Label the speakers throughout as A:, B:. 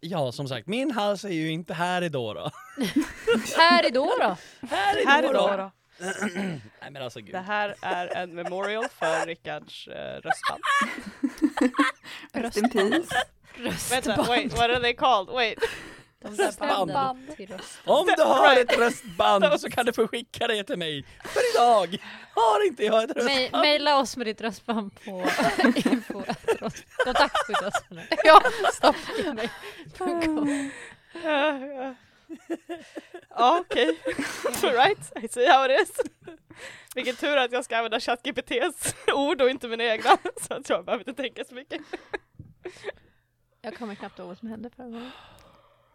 A: Ja, som sagt, min hals är ju inte här i då. då.
B: Här är då då.
A: Här
C: Här
A: i
C: är
A: då.
C: då.
A: då.
C: då.
A: Nej men alltså gud.
C: Det här är en memorial för Rickards eh, röstband.
D: Rest in peace.
C: Vänta,
B: Röstband.
C: wait, what are they called? Wait.
B: De
A: Röstband.
B: banden till röst.
A: Om du har ett röstband så kan du få skicka det till mig. För idag har inte jag ett röstband.
B: Ma- Maila oss med ditt röstband på info. Kontakt med röstband. Ja, stopp. Nej.
C: Eh, eh. Ja, Ah, okej. Alright, I see how it is. Vilken tur att jag ska använda ChatGPTs ord och inte mina egna, så att jag behöver inte tänka så mycket.
B: Jag kommer knappt ihåg vad som hände förra gången.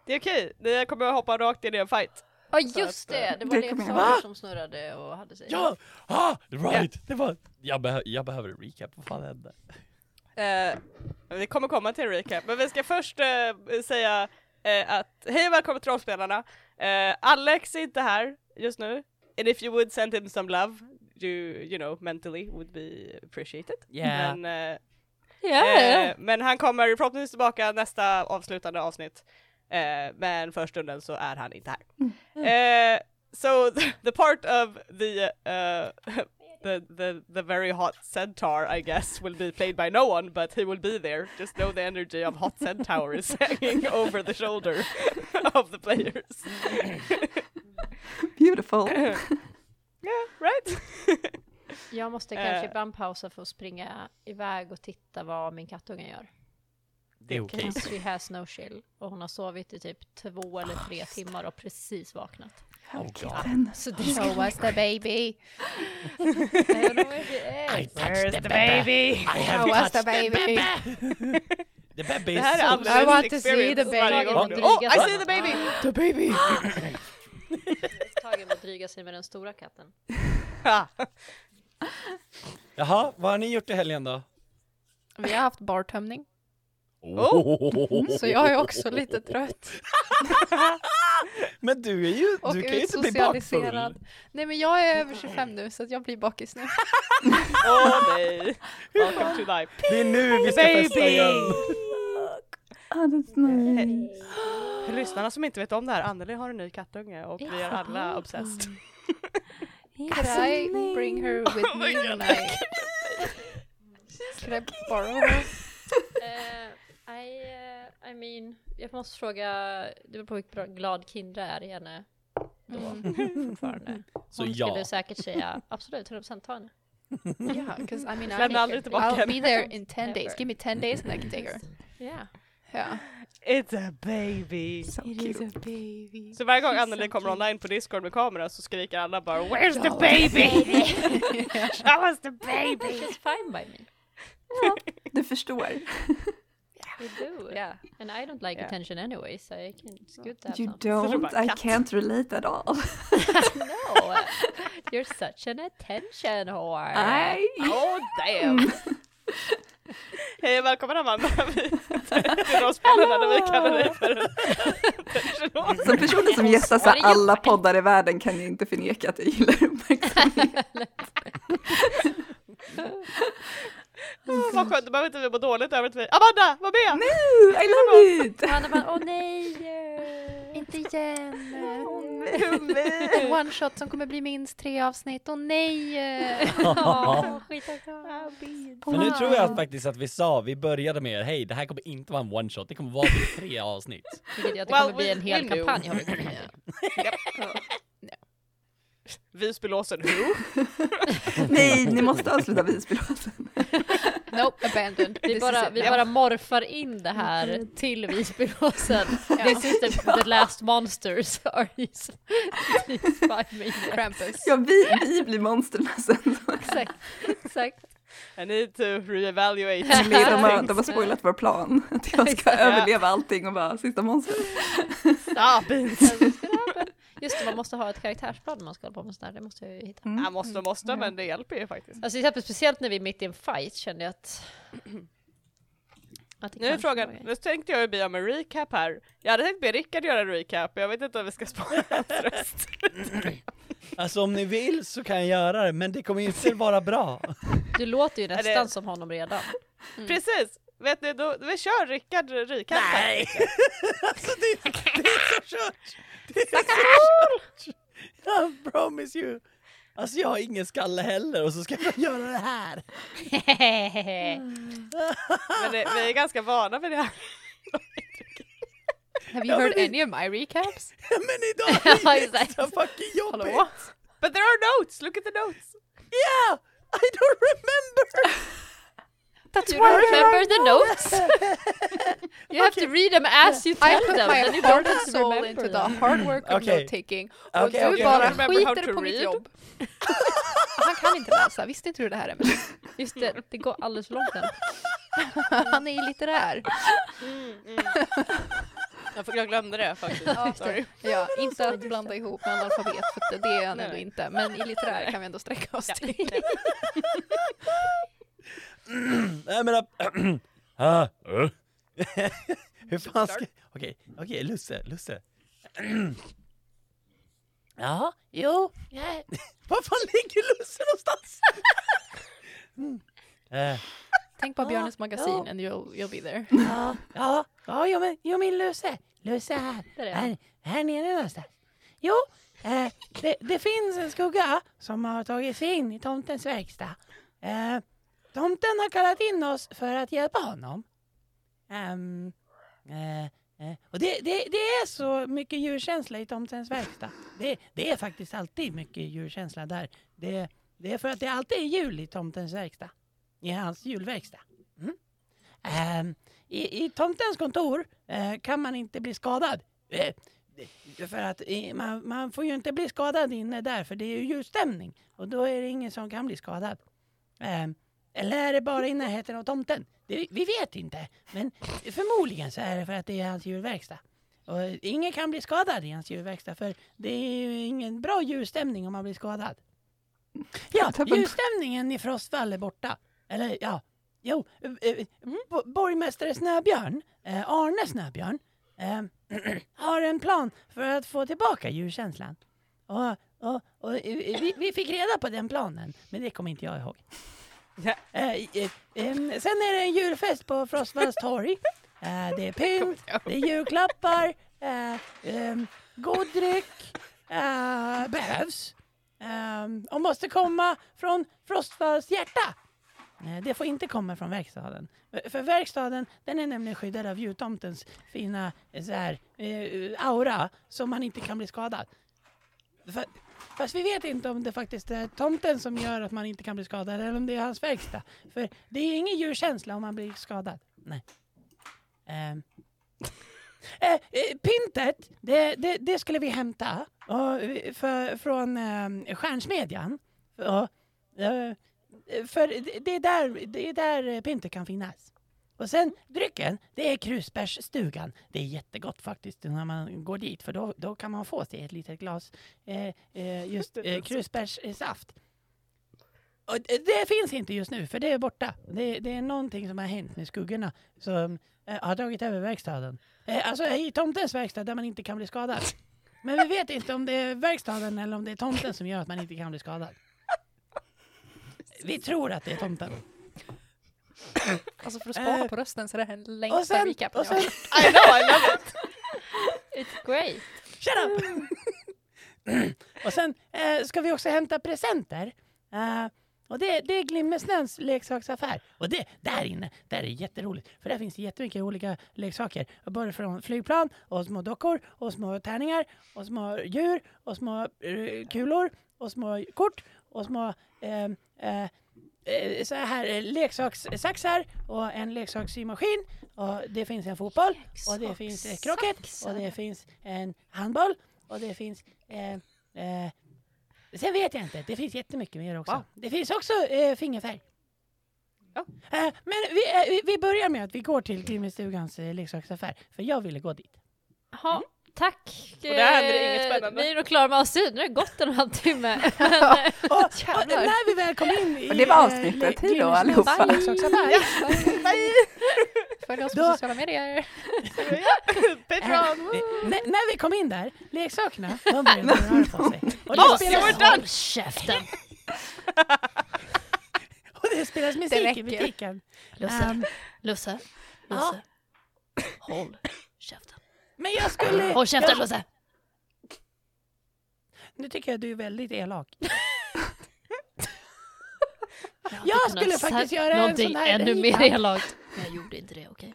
C: Det är okej, ni kommer att hoppa rakt in i en fight.
B: Ja just det, det var
D: Det kommer jag-
B: leksaker som snurrade och hade sig.
A: Ja! Ah, right! Det var... Jag, behö- jag behöver en recap, vad fan hände?
C: Eh, vi kommer komma till en recap, men vi ska först eh, säga eh, att hej och välkommen till Rollspelarna. Eh, Alex är inte här just nu, and if you would send him some love, you, you know, mentally would be appreciated.
A: Yeah.
C: Men, eh,
B: Ja, ja.
C: Eh, men han kommer förhoppningsvis tillbaka nästa avslutande avsnitt. Eh, men för stunden så är han inte här.
B: Mm.
C: Eh, so th- the part of the, uh, the, the, the very hot centaur I guess will be played by no one but he will be there. Just know the energy of hot centaur is hanging over the shoulder of the players.
D: Beautiful.
C: yeah, right?
B: Jag måste
C: eh.
B: kanske ibland pausa för att springa iväg och titta vad min kattunge gör.
A: Det är okej.
B: She has no chill och hon har sovit i typ två eller tre timmar och precis vaknat.
A: Oh god.
D: Den.
B: So the show was the baby.
A: I touched
C: Where's
A: the
C: the
A: baby.
C: baby?
A: I
B: I
A: have
B: was
A: touched
B: the
A: the
B: baby.
A: baby. The baby
C: Det
A: is
C: här
A: so...
C: är
B: I want
C: Andres
B: to see
C: experience
B: the
C: varje
B: baby.
C: gång nu. Oh, I see the baby!
A: The baby!
B: Tagen att dryga sig med den stora katten.
C: Ah.
A: Jaha, vad har ni gjort i helgen då?
E: Vi har haft bartömning,
A: Oh.
E: så jag är också lite trött.
A: Men du är ju...
E: Och
A: du kan ju inte bli
E: utsocialiserad.
A: bakfull.
E: Nej men jag är över 25 nu, så att jag blir bakis nu.
C: Åh nej! Welcome to life.
A: Det är nu vi ska festa igen.
D: Ah, that's nice.
C: För lyssnarna som inte vet om det här, Anneli har en ny kattunge och vi är alla obsessed.
E: Could I bring her
B: Oh
E: with me when I... Could I borrow her?
B: Eh, I, eh, I mean, jag måste fråga, det beror på hur bra- glad Kindra är i henne då
E: Mm.
B: Mm. fortfarande.
A: Så
B: Hon
A: ja.
B: skulle säkert säga absolut, 100% ta henne.
E: Yeah, because I mean
C: Lämna aldrig tillbaka
E: I'll
C: henne.
E: be there in 10 days.
B: Ever.
E: Give me 10 days and I can take her.
B: Yeah.
E: Yeah.
C: It's a baby!
D: So cute.
E: baby.
C: Så varje gång Anneli kommer online på Discord med kamera så skriker alla bara Where's the baby? Show us the baby!
B: She's fine by me.
D: Du förstår.
B: We do.
E: Yeah.
B: And I don't like
C: Yeah.
B: attention anyway, so I can, it's good to have
D: You
B: some.
D: don't. I can't relate at all.
B: No, you're such an attention whore.
D: I...
C: Oh damn! Hej och välkommen Amanda! Vi- Det är de spelarna där vi kallar dig för en personal.
D: Som personer som gästar så här alla poddar i världen kan jag inte förneka att jag gillar uppmärksamhet.
C: Åh, Vad skönt, då behöver inte vi må dåligt över att vi Amanda, var med!
D: Ooh, I love it!
B: Och Hanna bara, åh nej! eh."
E: Inte igen!
C: Nej.
E: En one shot som kommer bli minst tre avsnitt. Åh nej!
B: Åh, skit också.
A: Men nu tror jag faktiskt att vi sa, vi började med hej det här kommer inte vara en one shot, det kommer vara typ tre avsnitt.
B: Vilket gör att det
C: Well,
B: kommer bli
C: we-
B: en hel
C: we knew.
B: kampanj har vi kommit med.
C: Visbylåsen Who?
D: Nej, ni måste avsluta Visbylåten.
E: Nope, abandoned.
B: Vi
E: This is
B: bara,
E: it
B: vi
E: now.
B: bara morfar in det här
C: Mm.
B: till Visbyåsen. This is the, the last monsters are these these five minutes.
E: Krampus.
D: Ja, vi, vi blir monstren sen.
B: Exakt, exakt.
C: I need to reevaluate.
D: Nej, De har,
C: things.
D: de har spoilat vår plan. Att jag ska överleva allting och vara sista monstret.
C: Stop it!
B: Just det, man måste ha ett karaktärsblad när man ska hålla på med sånt här. Det måste jag ju hitta.
D: Mm.
C: Ja, måste måste, men det hjälper ju faktiskt.
B: Alltså till exempel speciellt när vi är mitt i en fight kände jag att... att det
C: Nu är
B: kanske
C: frågan,
B: var-
C: nu tänkte jag ju be om en recap här. Jag hade tänkt be Rickard göra en recap, jag vet inte om vi ska spara hans röst.
A: Alltså om ni vill så kan jag göra det, men det kommer inte vara bra.
B: Du låter ju nästan
C: Eller- Mm.
B: som honom redan.
C: Precis! Vet ni, då, vi kör Rickard Rikard.
A: Nej! alltså det, det är så kört! Det är så kört! I promise you! Alltså jag har ingen skalle heller och så ska jag göra det här!
C: Men det, vi är ganska vana vid det här.
E: Have you heard any of my recaps?
A: Men idag är det
B: Exakt.
A: extra fucking jobbigt!
E: Hallå?
C: But there are notes, look at the notes.
A: Yeah! I don't remember!
E: That's
B: You
E: why
B: don't remember the notes? you have to read them as you
E: I
B: tell
E: put
B: them. then
E: my
B: you
E: heart
B: don't
E: and
B: have to
E: soul
B: remember
E: into the
B: them.
E: hard work of
A: Okej.
E: note-taking och
A: Okej,
E: du
A: okej,
E: bara
A: okej.
C: Remember how
E: skiter
C: to
E: på mitt
C: read.
E: jobb. Han kan inte läsa, visste inte du det här Emil?
B: Just det, det går alldeles för långsamt.
E: Han är ju litterär.
C: Jag, jag glömde det faktiskt. Sorry.
E: Ja, inte att blanda ihop med analfabet, för det är han ändå
C: Nej.
E: inte. Men i litterär kan vi ändå sträcka oss
C: Ja.
E: till.
A: Nej men... äh, ah, äh. Hur fan ska... Okej, okej Lusse, Lusse. ja, jo. nej. Var fan ligger Lusse någonstans? mm. äh.
E: Tänk på Björnes magasin
A: ja.
E: and you'll, you'll be there.
A: Ja, ja, ja, jo men, jo men Lusse, Lusse här,
B: Där är han.
A: här, här nere någonstans. Jo, eh, det, det finns en skugga som har tagit sig in i tomtens verkstad. Eh, tomten har kallat in oss för att hjälpa honom. Ehm, eh, eh, och det, det, det är så mycket djurkänsla i tomtens verkstad. Det, det är faktiskt alltid mycket djurkänsla där. Det, det är för att det alltid är jul i tomtens verkstad. I hans julverkstad. Mm. Ehm, i, I tomtens kontor eh, kan man inte bli skadad. Eh, det- för att eh, man, man får ju inte bli skadad inne där för det är ju ljusstämning. Och då är det ingen som kan bli skadad. Ehm, eller är det bara i närheten av tomten? Det, vi vet inte. Men förmodligen så är det för att det är hans djurverkstad. Och ingen kan bli skadad i hans djurverkstad för det är ju ingen bra djurstämning om man blir skadad. Ja,
D: tappar-
A: djurstämningen i Frostvall är borta. Eller ja, jo. eh, eh, bo- Borgmästare Snöbjörn, eh, Arne Snöbjörn, eh, har en plan för att få tillbaka djurkänslan. Och, och, och, eh, vi, vi fick reda på den planen, men det kommer inte jag ihåg.
C: Ja.
A: Eh, eh, em, sen är det en julfest på Frostvalls torg. Eh, det är pynt, det är julklappar, eh, em, god dryck eh, behövs. Ehm, och måste komma från Frostvalls hjärta. Eh, det får inte komma från verkstaden. Eh, För verkstaden den är nämligen skyddad av jultomtens fina eh, så här, eh, aura så man inte kan bli skadad. Fa- Fast vi vet inte om det faktiskt är tomten som gör att man inte kan bli skadad eller om det är hans verkstad. För det är ingen djurkänsla om man blir skadad. Nej. Ehm. Eh, eh, Pyntet, det, det, det skulle vi hämta och, eh, för, från eh, Stjärnsmedjan. Och, eh, för det- det är, där, det är där eh, pyntet kan finnas. Och sen drycken, det är krusbärsstugan. Det är jättegott faktiskt när man går dit för då, då kan man få sig ett litet glas eh, eh, just eh, krusbärssaft. Och det- det finns inte just nu för det är borta. Det, det är någonting som har hänt med skuggorna som eh, har tagit över verkstaden. Eh, alltså i tomtens verkstad där man inte kan bli skadad. Men vi vet inte om det är verkstaden eller om det är tomten som gör att man inte kan bli skadad. Vi tror att det är tomten.
E: Alltså för att spara
A: Eh,
E: på rösten så är det här den
A: Och
E: längsta
A: sen,
E: recapen
A: och
E: jag
A: sen
E: har hört.
C: I know, I love it.
B: It's great.
A: Shut up! och sen eh, ska vi också hämta presenter. Eh, och det, det är Glimmesnöns leksaksaffär. Och det, där inne, där är det jätteroligt. För där finns det jättemycket olika leksaker. Både från flygplan och små dockor och små tärningar och små djur och små eh, kulor och små kort och små eh, eh, eh, så här eh, leksakssaxar och en leksakssymaskin och det finns en fotboll och det finns eh, krocket och det finns en handboll och det finns eh, eh, sen vet jag inte, det finns jättemycket mer också.
C: Wow.
A: Det finns också eh, fingerfärg.
C: Ja.
A: Eh, men vi, eh, vi- vi börjar med att vi går till Glimmestugans eh, leksaksaffär för jag ville gå dit.
B: Jaha, tack. Och
C: där händer det inget spännande.
B: Vi är nog klara med avsnitt, nu har det gått en halvtimme. eh,
A: Och, och när vi väl kom in i
D: Och det var
A: eh,
D: avsnittet.
A: Le-
D: Hej då,
A: Glimmesnös
D: allihopa.
A: leksaksaffär,
E: Följ oss på
A: Då-
E: sociala medier.
C: Patreon.
A: Eh, när, när vi kom in där, leksakerna, de började röra på sig. Och det
B: Boss,
A: spelades-
B: you were done! Käften!
A: Och det, det spelas musik i
E: räcker.
A: butiken.
B: Lusse,
A: Ehm,
B: Lusse,
A: ja.
B: Lusse. Håll käften.
A: men jag skulle...
B: Håll käften Lusse!
A: Nu tycker jag du är väldigt elak.
B: hade
A: Jag
B: kunnat
A: skulle
B: sagt
A: faktiskt göra en
B: någonting
A: sån här
B: ännu
A: lika.
B: mer elakt. Men Jag gjorde inte det, okej?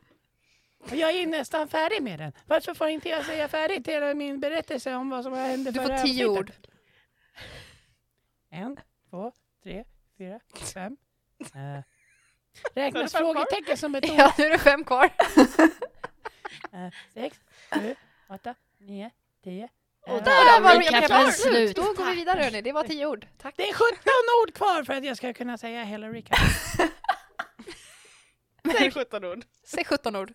A: Och jag är nästan färdig med den. Varför får inte jag säga färdigt hela min berättelse om vad som hände
E: Du får
A: förra
E: tio
A: avsnittet?
E: ord.
A: En, två, tre, fyra, fem. Eh,
C: Har du
A: räknas
C: fem kvar?
A: frågetecken som ett ord?
E: Ja, nu är det fem kvar.
A: Eh, sex, sju, åtta, nio, tio. eh, elva.
E: Där var
B: vi
E: vi
B: kapten
E: klara.
B: slut.
E: Då går vi vidare hörni, det var tio ord. Tack.
A: Det är 17 ord kvar för att jag ska kunna säga hela recap.
C: Säg 17 ord.
E: Säg 17 ord.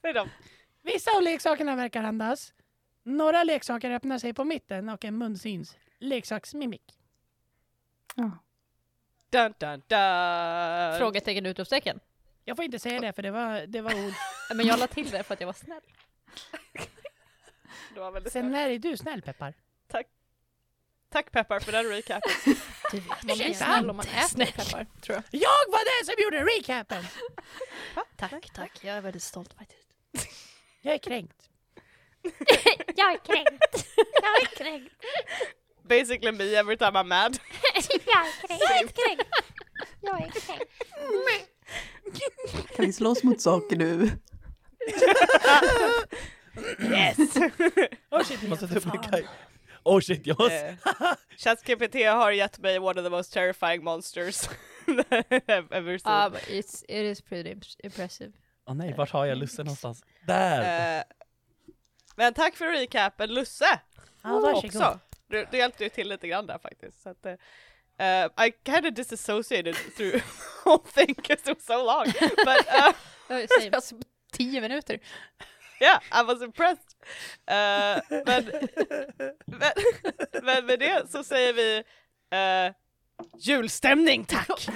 C: Säg dem.
A: Vissa av leksakerna verkar andas. Några leksaker öppnar sig på mitten och en mun syns. Leksaksmimik.
C: Dun, dun, dun.
B: Frågetecken, utropstecken.
A: Jag får inte säga det för det var, det var ord.
B: Men jag la till det för att jag var snäll.
C: Det var väldigt
A: Sen
C: bra.
A: när är du snäll Peppar?
C: Tack Peppar för den recapen.
B: Du vet,
E: Man blir
A: Ursäkta.
E: snäll om man
B: Inte
E: äter
B: snäll.
E: peppar, tror jag.
A: Jag var den som gjorde recapen!
B: Tack, tack. Jag är väldigt stolt faktiskt.
A: Jag är kränkt.
B: Jag är kränkt.
F: Jag är kränkt.
C: Basically me every time I'm mad.
F: Jag är kränkt. Jag är kränkt. Jag är kränkt.
D: Kan ni slåss mot saker nu?
C: Yes!
A: Oh shit,
G: Måste
A: ja,
G: ta upp
A: fan.
G: min kaj. Oh shit, jag måste...
C: Eh, ChatGPT har gett mig one of the most terrifying monsters I've ever seen.
B: Um, it's, it is pretty imp- impressive.
G: Åh nej, vart har jag Lusse någonstans? Där!
C: Eh, men tack för recapen Lusse!
A: Ja, varsågod.
C: Också. Du, du hjälpte ju till lite grann där faktiskt. Så att, eh, eh, I kind of disassociated through whole thing 'cause it was so long. But uh,
B: Oh, same.
E: Alltså, tio minuter.
C: yeah, I was impressed. Eh, men, men, men med det så säger vi eh, julstämning tack!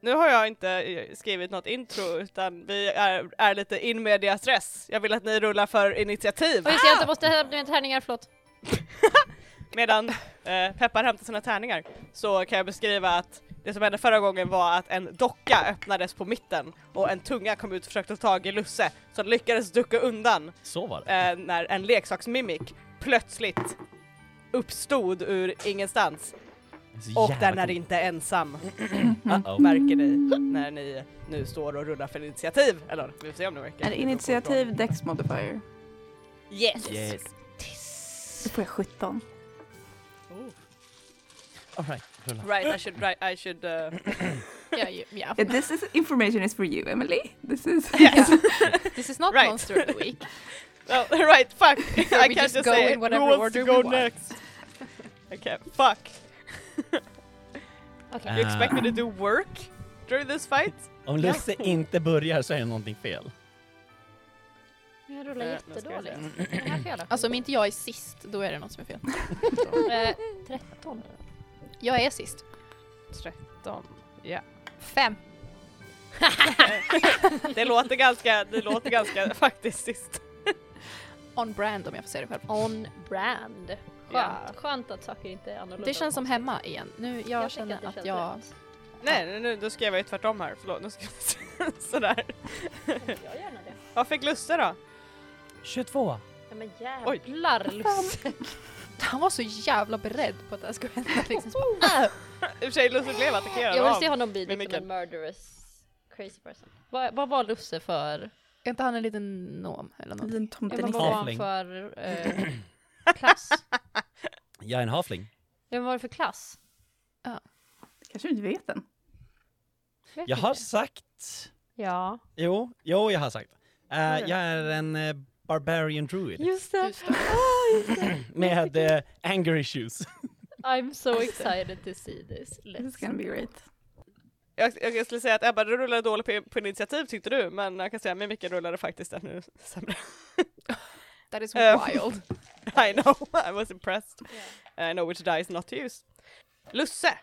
C: Nu har jag inte eh, skrivit något intro utan vi är, är lite in media stress. Jag vill att ni rullar för initiativ
B: Och just det, jag måste hämta mina tärningar, förlåt.
C: medan eh, Peppar hämtar sina tärningar. Så kan jag beskriva att det som hände förra gången var att en docka öppnades på mitten och en tunga kom ut och försökte ta tag i Lusse som lyckades ducka undan
G: Så var det.
C: eh, när en leksaksmimik plötsligt uppstod ur ingenstans.
G: Så
C: Och
G: jävla
C: den är
G: coolt.
C: inte ensam
G: Uh-oh.
C: märker ni när ni nu står och rullar för initiativ. Eller vi får se om det verkar.
D: Är det initiativ Dex Modifier?
C: Yes!
G: Yes.
D: Då får jag 17.
G: Alright, rulla.
C: Right, I should, right, I should uh,
E: Ja, ju- ja.
D: Yeah, this is information is for you, Emily. This is...
E: This is not
C: Right.
E: monster of the week.
C: No, right, fuck. I
E: we
C: can't
E: just
C: just
E: go
C: say
E: in
C: it.
E: whatever
C: Who wants
E: order
C: to
E: we
C: go
E: want?
C: next? I can't. Fuck.
B: Okej.
G: Eh,
C: You expect me to do work during this fight?
G: Om Lusse inte börjar så är det någonting fel.
B: Jag rullar
C: Eh,
B: jättedåligt.
C: nu
B: Är det här fel?
E: Alltså om inte jag är sist, då är det något som är fel.
B: Eh, 13.
E: Jag är sist.
C: 13. Ja.
E: Fem.
C: Det låter ganska, det låter ganska faktiskt sist.
E: On brand om jag får säga det själv.
B: On brand. Skönt.
C: Ja.
B: Skönt att saker inte är annorlunda.
E: Det känns som hemma igen. Nu, jag,
B: tycker
E: känner
B: att
E: att,
B: det känns
E: jag...
B: rätt.
C: Nej, nu- nu, då skrev jag ju tvärtom här. Förlåt, nu ska jag sådär.
B: Jag gör gärna det.
C: Vad fick Lusse då?
A: 22.
B: Ja, men jävlar Lusse.
E: Han var så jävla beredd på att det här skulle hända. Liksom. Så bara,
C: I och för sig, Lusse blev attackerad
B: Jag vill
C: av-
B: se honom bli
C: Men
B: liksom en
C: Mikael.
B: murderous crazy person. Vad, vad var Lusse för?
E: Är inte han en liten nom eller
D: En
E: något?
D: liten
B: Ja, vad
D: tomtenisse.
B: var han
G: Halfling.
B: för eh, klass?
G: Jag är en halfling.
B: Vem var det för klass?
D: Kanske du inte vet än.
B: Vet
G: Jag har
B: inte.
G: sagt...
B: Ja.
G: Jo, jo jag har sagt. Eh,
B: Har du?
G: jag är en eh, barbarian druid
B: Just det.
E: Just det.
G: med eh, anger issues.
B: I'm so excited to see this.
D: This
B: Let's
D: gonna be great.
C: Jag, jag skulle säga att Ebba, du rullade dåligt på, på initiativ tyckte du, men jag kan säga att Mimika rullade faktiskt ännu sämre.
E: That is
C: Eh,
E: wild.
C: I know, I
B: Mm.
C: was impressed. I know which dice not to use. Lusse!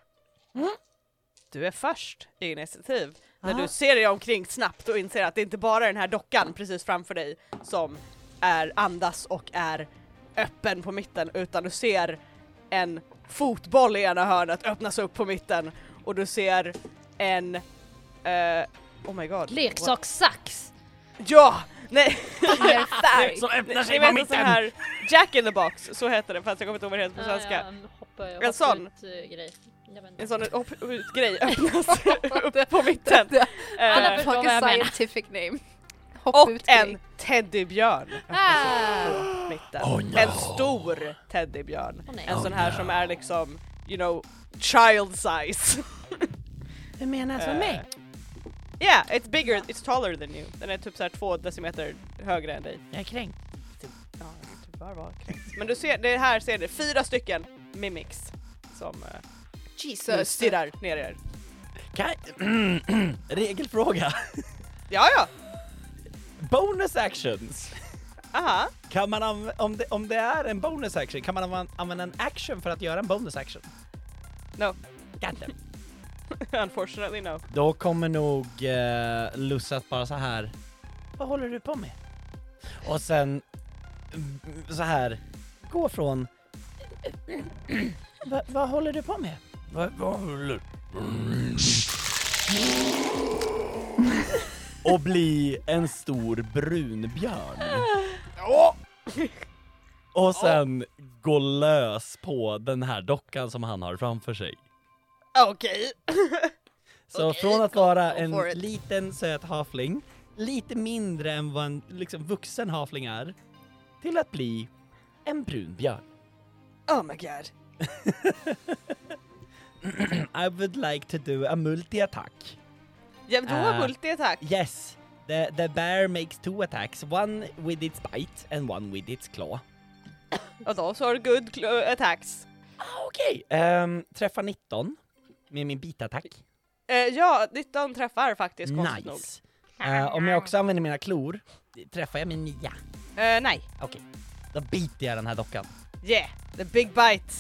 C: du är först i initiativ. När
B: Ah.
C: du ser dig omkring snabbt och inser att det inte bara är den här dockan precis framför dig som är andas och är öppen på mitten utan du ser en fotboll i ena hörnet öppnas upp på mitten och du ser en... eh, oh my god. What?
B: Leksakssax!
C: Ja! Nej!
G: Som öppnar
C: Ni
G: sig på
C: vet en sån
G: mitten!
C: här Jack in the box, så heter det fast jag kommer inte ihåg vad det heter på
B: Ah,
C: svenska.
B: ja, en hoppa, hoppa
C: En sån.
B: ut, eh, grej. Jag vet inte.
C: En sån upp, ut grej öppnas upp på mitten.
E: Det-
B: Alla
C: Eh,
B: förstår
E: Fuck
B: vad
E: a
B: jag menar.
E: scientific name. Hopp
C: och
E: ut
C: en
E: grej.
C: teddybjörn
B: Ah.
C: öppnas upp i mitten.
G: Oh no.
C: En stor teddybjörn.
B: Åh, nej.
C: en sån här
G: Oh no.
C: som är liksom, you know, child size.
A: Du menar som
C: Eh,
A: mig?
C: Yeah, it's bigger, it's taller than you. Den är typ så här två decimeter högre än dig.
A: Jag är kränkt.
C: Ja, det bör vara kränkt. Men du ser, det här ser du, fyra stycken mimics som eh, nu
E: Jesus.
C: stirrar ner i er.
G: Kan- Regelfråga.
C: Ja, ja!
G: Bonus actions.
C: Aha.
G: Kan man anv- om, det, om det är en bonus action, kan man anv- använda en action för att göra en bonus action?
C: No.
G: Got them.
C: Unfortunately no.
G: Då kommer nog eh, Lusse att bara så här. Vad håller du på med? Och sen mm, så här. Gå från.
A: Va, vad håller du på med?
G: Och bli en stor brunbjörn. Och sen gå lös på den här dockan som han har framför sig.
C: Okej.
G: Så från att vara
C: go
G: en
C: for it.
G: liten söt hafling, lite mindre än vad en liksom, vuxen hafling är, till att bli en brunbjörn.
C: Oh my god.
G: I would like to do a multi-attack.
C: Ja, men då
G: Ah.
C: var multiattack.
G: Yes, the, the bear makes two attacks, one with its bite and one with its claw.
C: Och då så har du good cl- eh, attacks.
G: Ah, Okej, ehm, träffa 19 med min bitattack.
C: Eh, ja, 19 träffar faktiskt konstigt nog.
G: Nice. Eh, om jag också använder mina klor, träffar jag med 9.
C: Eh, nej.
G: Okej, då biter jag den här dockan.
C: Yeah, the big bite.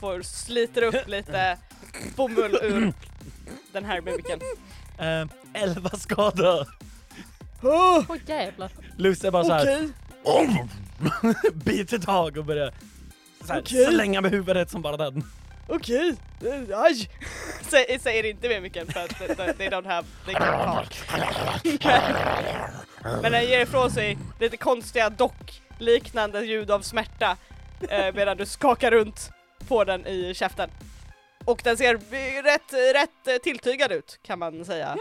C: Får sliter upp lite bomull ur den här mimiken.
G: Ehm, 11 skador.
B: Åh jävlar.
G: Lusse är bara Ah! så här. biter tag och börjar så här, slänga med huvudet som bara den.
C: Okej, okay. aj! Sä- säger inte mimiken för att de- de- they don't have, they can't talk. Men den ger ifrån sig lite konstiga dockliknande ljud av smärta eh, medan du skakar runt på den i käften. Och den ser eh, rätt, rätt eh, tilltygad ut kan man säga.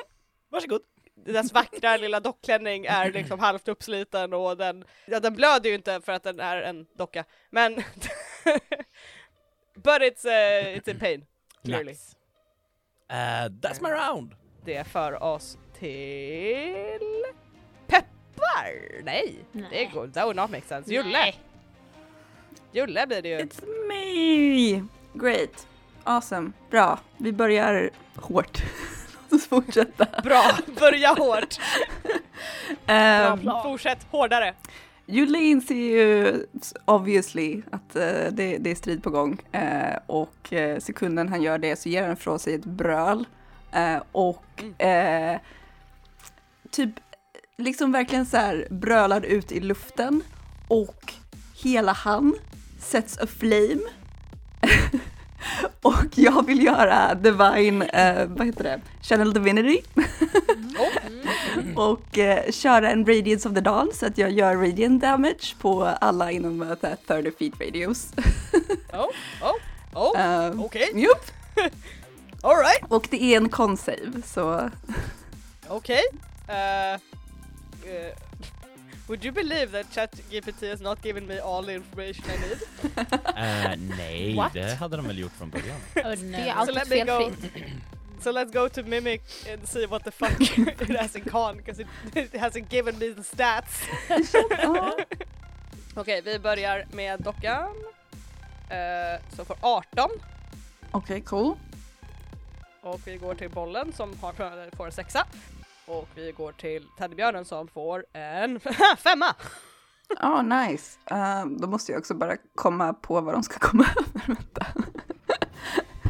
G: Varsågod.
C: Dess vackra lilla dockklänning är liksom halvt uppsliten och den, ja den blöder ju inte för att den är en docka, men But it's, eh, it's in pain, clearly.
G: Nice. Eh, that's my round.
C: Det för oss till... Peppar! Nej, det går, that would not make sense. Julle!
B: Nej.
C: Julle blir det ju.
D: It's me! Great. Awesome. Bra. Vi börjar hårt. Låt oss fortsätta.
C: Bra, börja hårt! Um,
D: Ehm,
C: Fortsätt hårdare!
D: Julie inser ju obviously att eh, det, det är strid på gång eh, och eh, sekunden han gör det så ger han från sig ett bröl eh, och eh, typ liksom verkligen så här brölar ut i luften och hela han sätts aflame. och jag vill göra divine, eh, vad heter det, channel divinity och eh, köra en Radiance of the Dawn så att jag gör radiant damage på alla inom eh, så här 30 feet radius.
C: Oh, oh, oh,
D: Uh,
C: okej,
D: Jupp!
C: alright,
D: Och det är en con-save så
C: okej. Eh, eh, would you believe that ChatGPT has not given me all the information I need?
G: Eh, nej,
C: What?
G: det hade de väl gjort från början.
E: Det är
C: So
E: alltid
C: let me go.
E: felfritt.
C: So let's go to Mimic and see what the fuck it has in con, because it, it hasn't given me the stats.
D: ja.
C: Okej, vi börjar med dockan. Uh, som får 18
D: Okej, cool.
C: och vi går till bollen som har, får en sexa. Och vi går till teddybjörnen som får en femma!
D: Ja, nice. Eh, då måste jag också bara komma på vad de ska komma över. Vänta.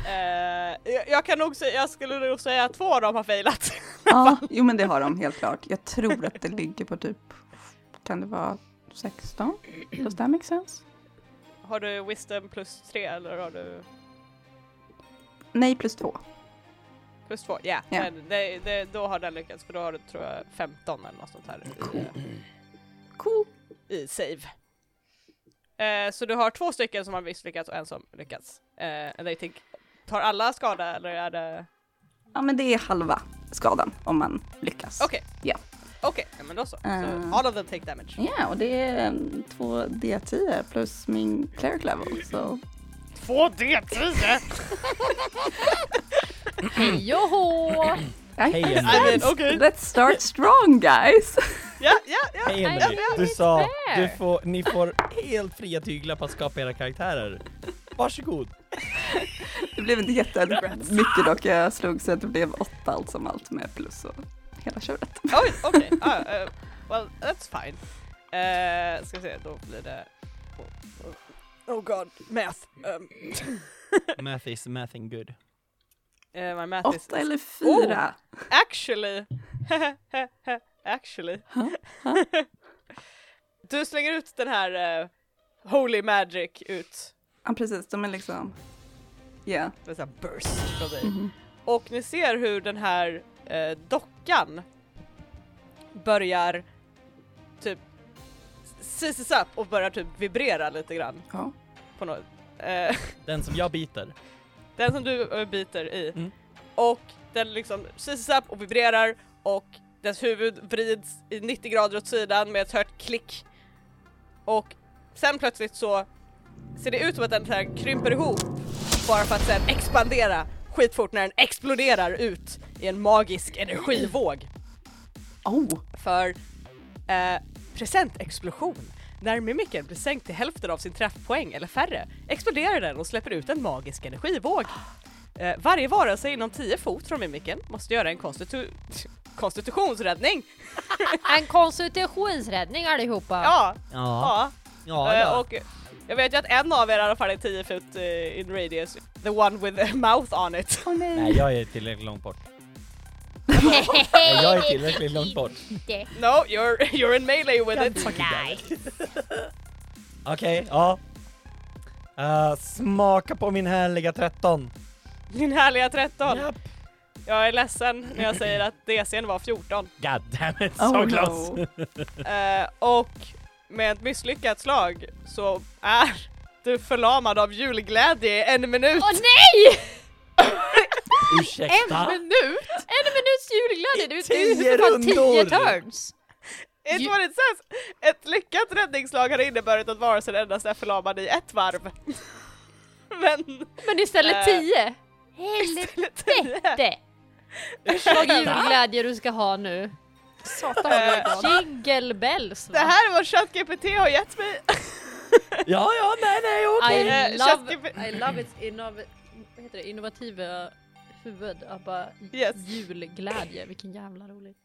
C: Eh, jag, jag jag kan nog säga, jag skulle nog säga att två av dem har failat.
D: Ja, jo men det har de helt klart. Jag tror att det ligger på typ, kan det vara 16? Does that make sense?
C: Har du wisdom plus tre eller har du
D: Nej, plus två.
C: plus två? Ja,
D: Ja.
C: men det, det, då har den lyckats för då har du tror jag 15 eller något sånt här i,
D: Cool.
C: i save. Eh, så du har två stycken som har misslyckats och en som lyckats. Eh, and I think, tar alla skada eller är det?
D: Ja, men det är halva skadan om man lyckas.
C: Okej.
D: Ja.
C: Okej, ja, men då så.
D: Eh.
C: så. All of them take damage.
D: Ja, och det är mm, två D10 plus min cleric level. Så
C: Två D10!
B: Joho!
D: I
G: Hej,
D: think
G: Emily.
C: I mean,
D: that's-
C: okej.
D: Let's start strong guys!
C: Ja, ja, ja!
G: Hej
B: Nej,
G: Emily,
B: men
G: du
B: it's
G: sa
B: fair.
G: du får, ni får helt fria tyglar på att skapa era karaktärer. Varsågod.
D: Det blev inte jättemycket dock, jag slog så att det blev åtta allt som allt med plus och hela köret.
C: Oj, okej. Ah, eh, well, that's fine. Uh, ska vi se, då blir det... Oh, oh, oh god, math. Um,
G: Math is mathing good.
C: eh, my math is...
D: Åtta eller fyra?
C: Actually! Actually. du slänger ut den här eh, holy magic ut,
D: Ja, precis, de är liksom... Ja.
C: med sån här burst från dig.
D: Mm-hmm.
C: Och ni ser hur den här eh, dockan börjar typ seizes up och börjar typ vibrera lite grann
D: Ja.
C: på något. Eh,
G: Den som jag biter.
C: den som du eh, biter i.
G: Mm.
C: Och den liksom seizes up och vibrerar och dess huvud vrids i 90 grader åt sidan med ett hört klick. Och sen plötsligt så ser det ut som att den så här krymper ihop bara för att sen expandera skitfort när den exploderar ut i en magisk energivåg
D: Oh,
C: för eh, presentexplosion. När mimikern blir sänkt till hälften av sin träffpoäng eller färre exploderar den och släpper ut en magisk energivåg. Eh, varje varelse inom 10 fot från mimikern måste göra en konstitu- konstitutionsräddning.
B: En konstitutionsräddning allihopa!
C: Ja,
G: Ja.
C: ja.
G: Ja,
C: Eh,
G: ja.
C: och jag vet ju att en av er i alla fall är 10 fot eh, in radius. The one with a mouth on it.
D: oh nej.
G: Nej, jag är tillräckligt långt bort. Nej, jag är tillräckligt långt bort.
C: No, you're, you're in melee with it.
G: Okej, ja. Eh, smaka på min härliga 13.
C: Din härliga 13.
G: Japp.
C: Jag är ledsen när jag säger att DCn var 14.
G: God damn it,
D: Oh,
G: so close.
D: no.
C: Eh, och med ett misslyckat slag så är du förlamad av julglädje i en minut.
B: Åh nej!
G: Ursäkta.
B: minut? En minuts julglädje! Det är ju
G: tio
B: för fan tio
G: rundor.
B: turns!
C: It's what it says! Ett lyckat räddningsslag hade inneburit att varelsen endast är förlamad i ett varv. Men...
B: Men istället
C: Eh,
B: tio!
C: Helvete!
B: Det! Vad julglädje du ska ha nu!
E: Satan vad jag är glad.
B: Jingle bells va?
C: Eh. Det här är vad ChatGPT har gett mig.
G: Ja, ja, nej, nej, okej.
B: I,
C: Eh,
B: love,
C: ChatGPT.
B: I love its innov- vad heter det, innovativa huvud. Att bara
C: Yes.
B: julglädje, vilken jävla rolig.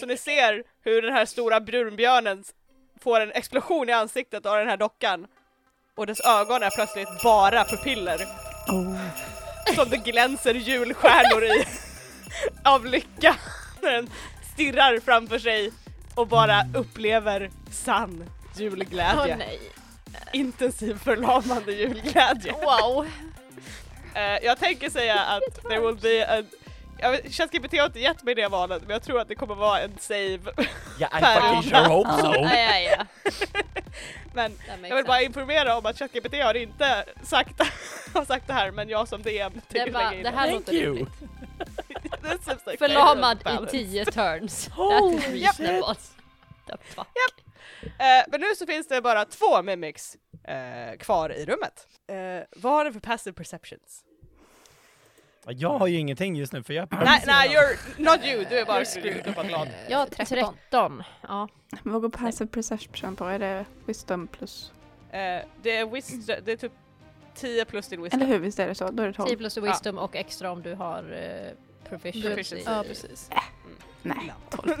C: Så ni ser hur den här stora brunbjörnen får en explosion i ansiktet av den här dockan. Och dess ögon är plötsligt bara pupiller. Som det glänser julstjärnor i. Av lycka. När den stirrar framför sig och bara upplever sann
B: Åh
C: julglädje.
B: nej,
C: Intensiv förlamande julglädje.
B: wow!
C: Eh, jag tänker säga att there will be a... Jag vet- ChatGPT har inte gett mig det valet men jag tror att det kommer vara en save
G: Ja, I
C: Per
G: fucking sure hope so.
B: Aj, aj, aj.
C: men
B: That makes
C: Jag vill bara
B: sense.
C: informera om att ChatGPT har inte sagt, har sagt det här men jag som DM
B: det,
C: tycker
B: är bara,
C: lägga in
B: det
C: det.
B: här
G: Thank
B: låter
G: you.
B: roligt.
C: This seems like
B: Förlamad
C: fair
B: i
C: balance.
B: tio turns. That
A: Holy
B: is reasonable. The fuck.
C: Eh, men nu så finns det bara två mimics eh, kvar i rummet. Eh, vad har du för passive perceptions?
G: Jag har ju ingenting just nu för jag är
C: nej, nej, you're not you, du är
E: Eh,
C: bara screwed och bara glad.
B: Jag har 13. 13. Ja.
D: Vad går passive perception på? Är det wisdom plus?
C: Eh, det, är wisdom, det är typ 10 plus din
D: Eller
C: wisdom.
D: hur, visst Typ. är det så? Då är det
B: 10
D: tolv.
B: plus wisdom och extra om du har eh, proficiency.
C: Proficiency.
E: Ja, precis.
D: Nej, tolv.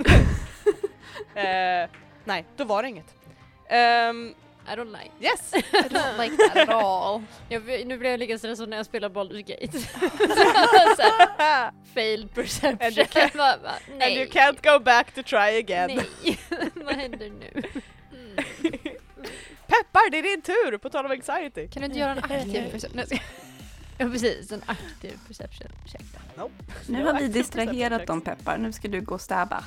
C: Eh, nej, då var det inget. Ehm,
B: I don't like.
C: Yes!
E: I don't like that at all.
B: Jag, vet- nu blev jag lika stressad när jag spelade Baldur's Gate. så här, failed
C: And you
B: perception.
C: can't-
B: Bara, bara,
C: And
B: nej.
C: you can't go back to try again.
B: Nej. Vad händer nu? Mm.
C: Peppar, det är din tur! På tal om anxiety.
E: Kan du inte göra en aktiv perception? Nej, jag skojar.
B: Ja precis, en aktiv perception check.
D: Nu
C: Ja,
D: har vi
C: active
D: distraherat
C: perception
D: dem Peppar, nu ska du gå och stäba.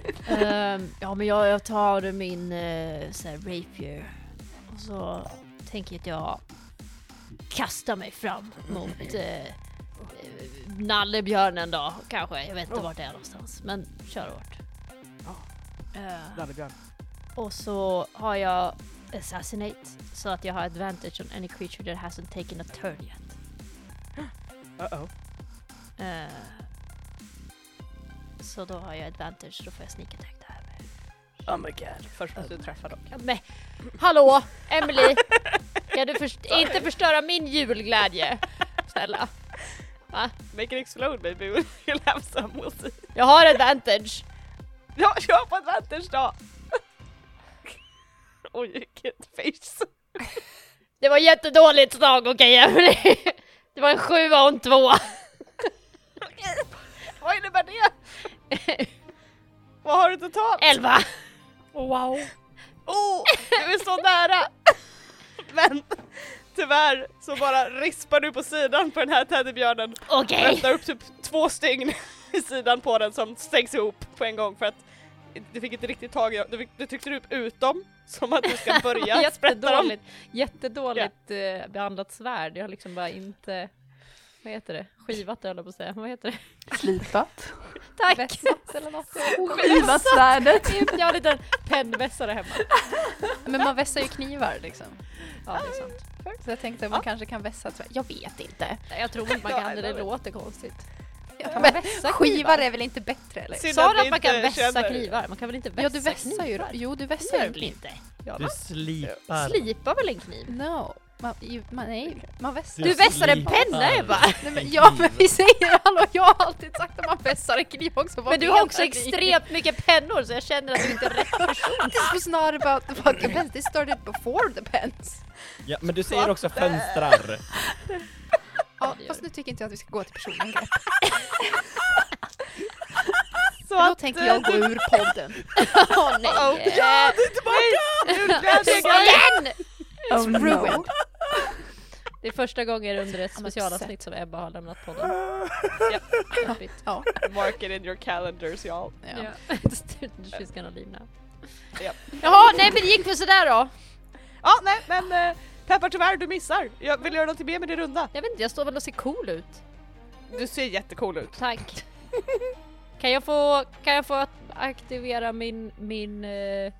B: Ehm, ja men jag, jag tar min uh, så här, rapier och så tänker jag att jag kastar mig fram mot eh, eh, nallebjörnen då kanske. Jag vet inte vart det är någonstans men kör hårt. Eh,
C: Nallebjörn.
B: och så har jag assassinate så att jag har advantage on any creature that hasn't taken a turn yet.
C: Uh-oh.
B: Eh, så då har jag advantage så då får jag sneak attack där.
C: Oh my god. Först måste du träffa dem.
B: Ja, Men, hallå, Emily. Kan du först- inte förstöra min julglädje? Snälla.
C: Make it explode baby, we'll have some, we'll see.
B: Jag har advantage.
C: Ja, kör på advantage då! Oj, vilket face.
B: Det var jättedåligt slag, okej Emily. Det var en sjua och en tvåa.
C: Vad innebär det? Vad har du totalt?
B: Elva.
A: Wow.
C: Oh, du är så nära! Men tyvärr så bara rispar du på sidan på den här teddybjörnen och
B: Okej.
C: öppnar upp typ två stygn i sidan på den som stängs ihop på en gång för att du fick inte riktigt tag i dem, du, fick, du tryckte upp ut dem som att du ska börja sprätta dem.
B: Jättedåligt, jättedåligt eh, behandlat svärd. Jag har liksom bara inte, vad heter det, skivat höll jag på att säga. Vad heter det?
D: Slipat.
B: Tack!
E: Vässat eller något.
D: Skivat svärdet.
B: Jag har en liten pennvässare hemma.
E: Men man vässar ju knivar liksom.
B: Ja, det är sant.
E: Så jag tänkte att man kanske kan vässa tvär. Jag vet inte.
B: Jag tror inte man
C: Ja,
B: kan det,
C: jag
B: det
C: vet.
B: låter konstigt.
E: Kan man vässa
B: knivar?
E: Skivar är väl inte bättre eller?
C: Synd
B: Sa
C: vi
B: du att man kan
C: inte
B: vässa
C: känner-
B: knivar? Man kan väl inte vässa
E: Ja du vässar ju då.
B: knivar?
E: Jo du
B: Det
E: vässar
B: gör
E: ju
B: väl
E: kniv.
B: inte?
G: Du slipar.
B: Slipa väl en kniv?
E: No. Man, ju, man, nej, man vässar.
B: Du vässar en penna Ebba!
E: Nej, men, ja men vi säger hallå, jag har alltid sagt att man vässar en kniv också. Vad
B: Men du har
E: menar
B: också
E: ni?
B: extremt mycket pennor så jag känner att du inte är rätt person.
E: This was not about the fucking pens, this started before the pens.
G: Ja, men du säger också fönstrar.
E: Ja,
B: det gör
E: fast
B: det.
E: nu tycker inte jag att vi ska gå till personangrepp.
C: Så
E: Då
C: att,
E: tänker jag gå Eh, ur podden.
B: Åh nej!
C: oh, ja, du är tillbaka! Julglädje!
B: Eh, Igen!
D: Oh no.
E: ruined.
B: Det är första gången under ett
E: I'm
B: specialavsnitt som Ebba har lämnat podden. Ja, jobbigt.
E: Ja.
C: Mark it in your calendars y'all.
E: Ja.
B: She's gonna leave now.
C: Ja.
B: Jaha, nej men det gick väl sådär då?
C: Ja, nej men eh, Peppar tyvärr, du missar. Jag vill göra någonting mer med din runda.
B: Jag vet inte, jag står väl och ser cool ut.
C: Du ser jättecool ut.
B: Tack. kan, jag få, kan jag få att aktivera min, min, eh,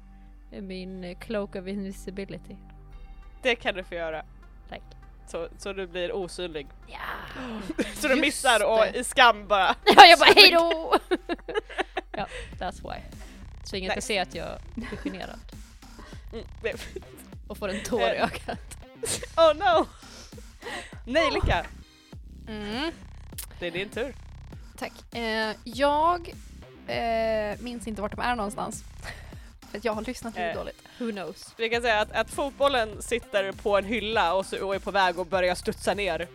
B: min cloak of invisibility?
C: Det kan du få göra.
B: Tack.
C: Så, så du blir osynlig.
B: Ja,
C: Så du
E: Just
C: missar och
E: det.
C: i skam bara.
B: jag bara hejdå! ja, that's why. Så ingen ska
C: Nice.
B: se att jag är generad
C: Mm, det-
B: och får en tår i
C: Eh.
B: ögat.
C: Oh no! Nej Lika,
E: Mm.
C: det är din tur.
E: Tack. Eh, jag eh, minns inte vart de är någonstans. För att jag har lyssnat lite
C: Eh.
E: dåligt.
B: Who knows?
C: Vi kan säga att, att fotbollen sitter på en hylla och, så, och är på väg att börja studsa ner.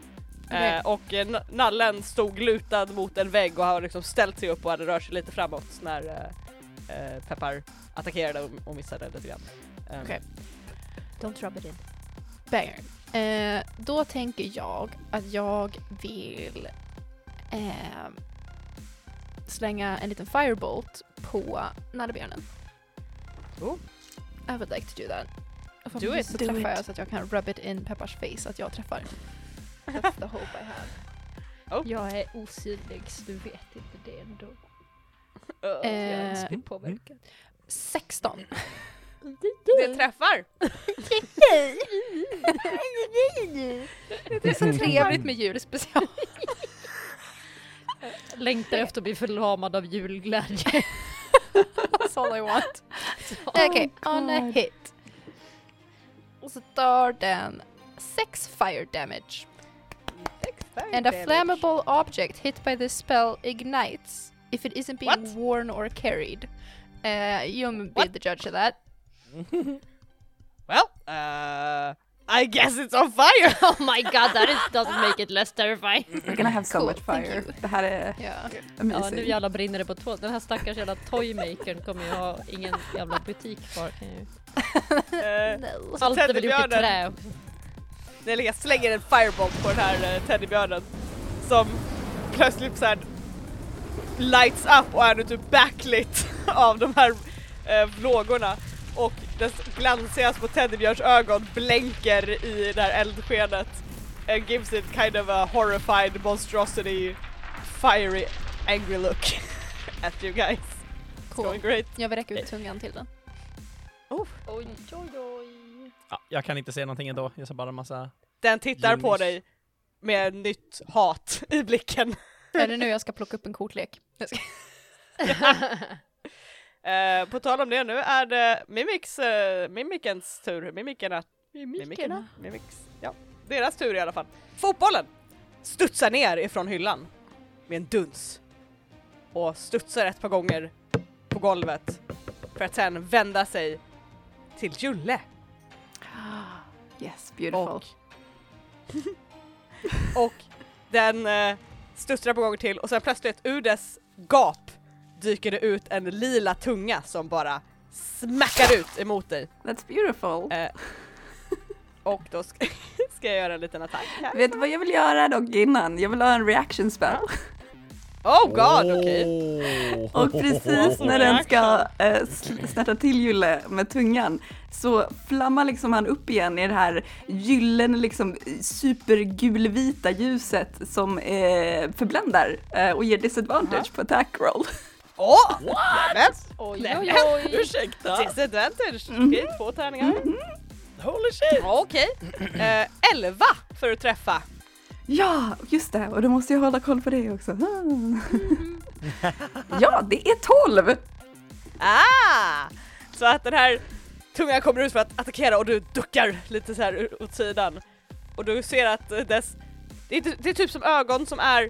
E: Okej.
C: Eh, och eh, na- nallen stod lutad mot en vägg och har liksom ställt sig upp och hade rört sig lite framåt när eh, eh, Peppar attackerade och, och missade lite grann. Um,
E: Okej.
B: Don't rub it in.
E: Banger. Eh, då tänker jag att jag vill eh, slänga en liten firebolt på nallebjörnen.
C: Oh.
E: I would like to do that. Och
C: Do
E: förhoppningsvis
C: it.
E: Så
A: Do
E: träffar
A: it.
E: jag så att jag kan rub it in Peppars face att jag träffar. That's the hope I have.
B: Jag är osynlig så du vet inte det ändå. Jag
C: eh,
B: är inte
E: Eh,
B: så påverkad.
E: 16.
C: Det träffar!
B: Mm.
E: Det är så trevligt med julspecial.
B: Längtar efter att bli förlamad av julglädje.
E: That's all I want. Okej, on a hit. Och så tar den 6 fire damage. And a flammable object hit by this spell ignites if it isn't being
C: What?
E: worn or carried. Uh, you may be
C: What?
E: the judge of that.
C: Well, uh, I guess it's on fire!
B: Oh my god, that is, doesn't make it less terrifying.
D: We're gonna have so
E: Cool,
D: much
E: thank
D: fire.
E: you.
D: Det här är
E: Ja.
B: Ja, nu
D: amazing.
B: jävla brinner det på två. Den här stackars jävla toymakern kommer ju ha ingen jävla butik kvar. kan ju-
C: Eh,
E: No.
B: Allt är väl gjort i trä.
C: teddybjörnen. när jag slänger en fireball på den här eh, teddybjörnen som plötsligt såhär lights up och är nu typ backlit av de här eh, lågorna och dess glansiga små teddybjörns ögon blänker i det här eldskenet and gives it kind of a horrified monstrosity fiery angry look at you guys. It's
E: Cool.
C: going great.
E: Jag vill räcka ut tungan till den.
B: Oj, oj, oj.
G: Ja, jag kan inte se någonting ändå, jag ser bara en massa...
C: Den tittar på
G: Genius.
C: dig med nytt hat i blicken.
E: Är det nu jag ska plocka upp en kortlek? Jag ska-
C: Eh, på tal om det, nu är det Mimiks, eh, Mimikens tur. Mimikerna. Mimikerna? Mimiks. Ja, deras tur i alla fall. Fotbollen studsar ner ifrån hyllan med en duns och studsar ett par gånger på golvet för att sen vända sig till Julle
D: Yes, beautiful.
C: och, och den eh, studsar på gång till och sen plötsligt ur dess gap dyker det ut en lila tunga som bara smackar ut emot dig.
D: That's beautiful.
C: Eh, och då ska, ska jag göra en liten attack här.
D: Vet du vad jag vill göra dock innan? Jag vill ha en reaction spell.
C: Oh god, okej.
G: Oh.
D: Och precis när den ska eh, sl- snärta till Julle med tungan så flammar liksom han upp igen i det här gyllene, liksom supergulvita ljuset som eh, förbländar eh, och ger disadvantage på attack roll.
C: Åh! Nämen!
B: Oj, oj,
C: Nämen!
B: oj.
G: Ursäkta!
C: Disadvantage! Okej, två tärningar.
G: Holy shit!
C: Okej. Eh, elva för att träffa.
D: Ja, just det, och då måste jag hålla koll på det också. Ah. ja, det är 12!
C: Ah! Så att den här tungan kommer ut för att attackera och du duckar lite så här ur- åt sidan. Och du ser att eh, dess... Det är, ty- det är typ som ögon som är...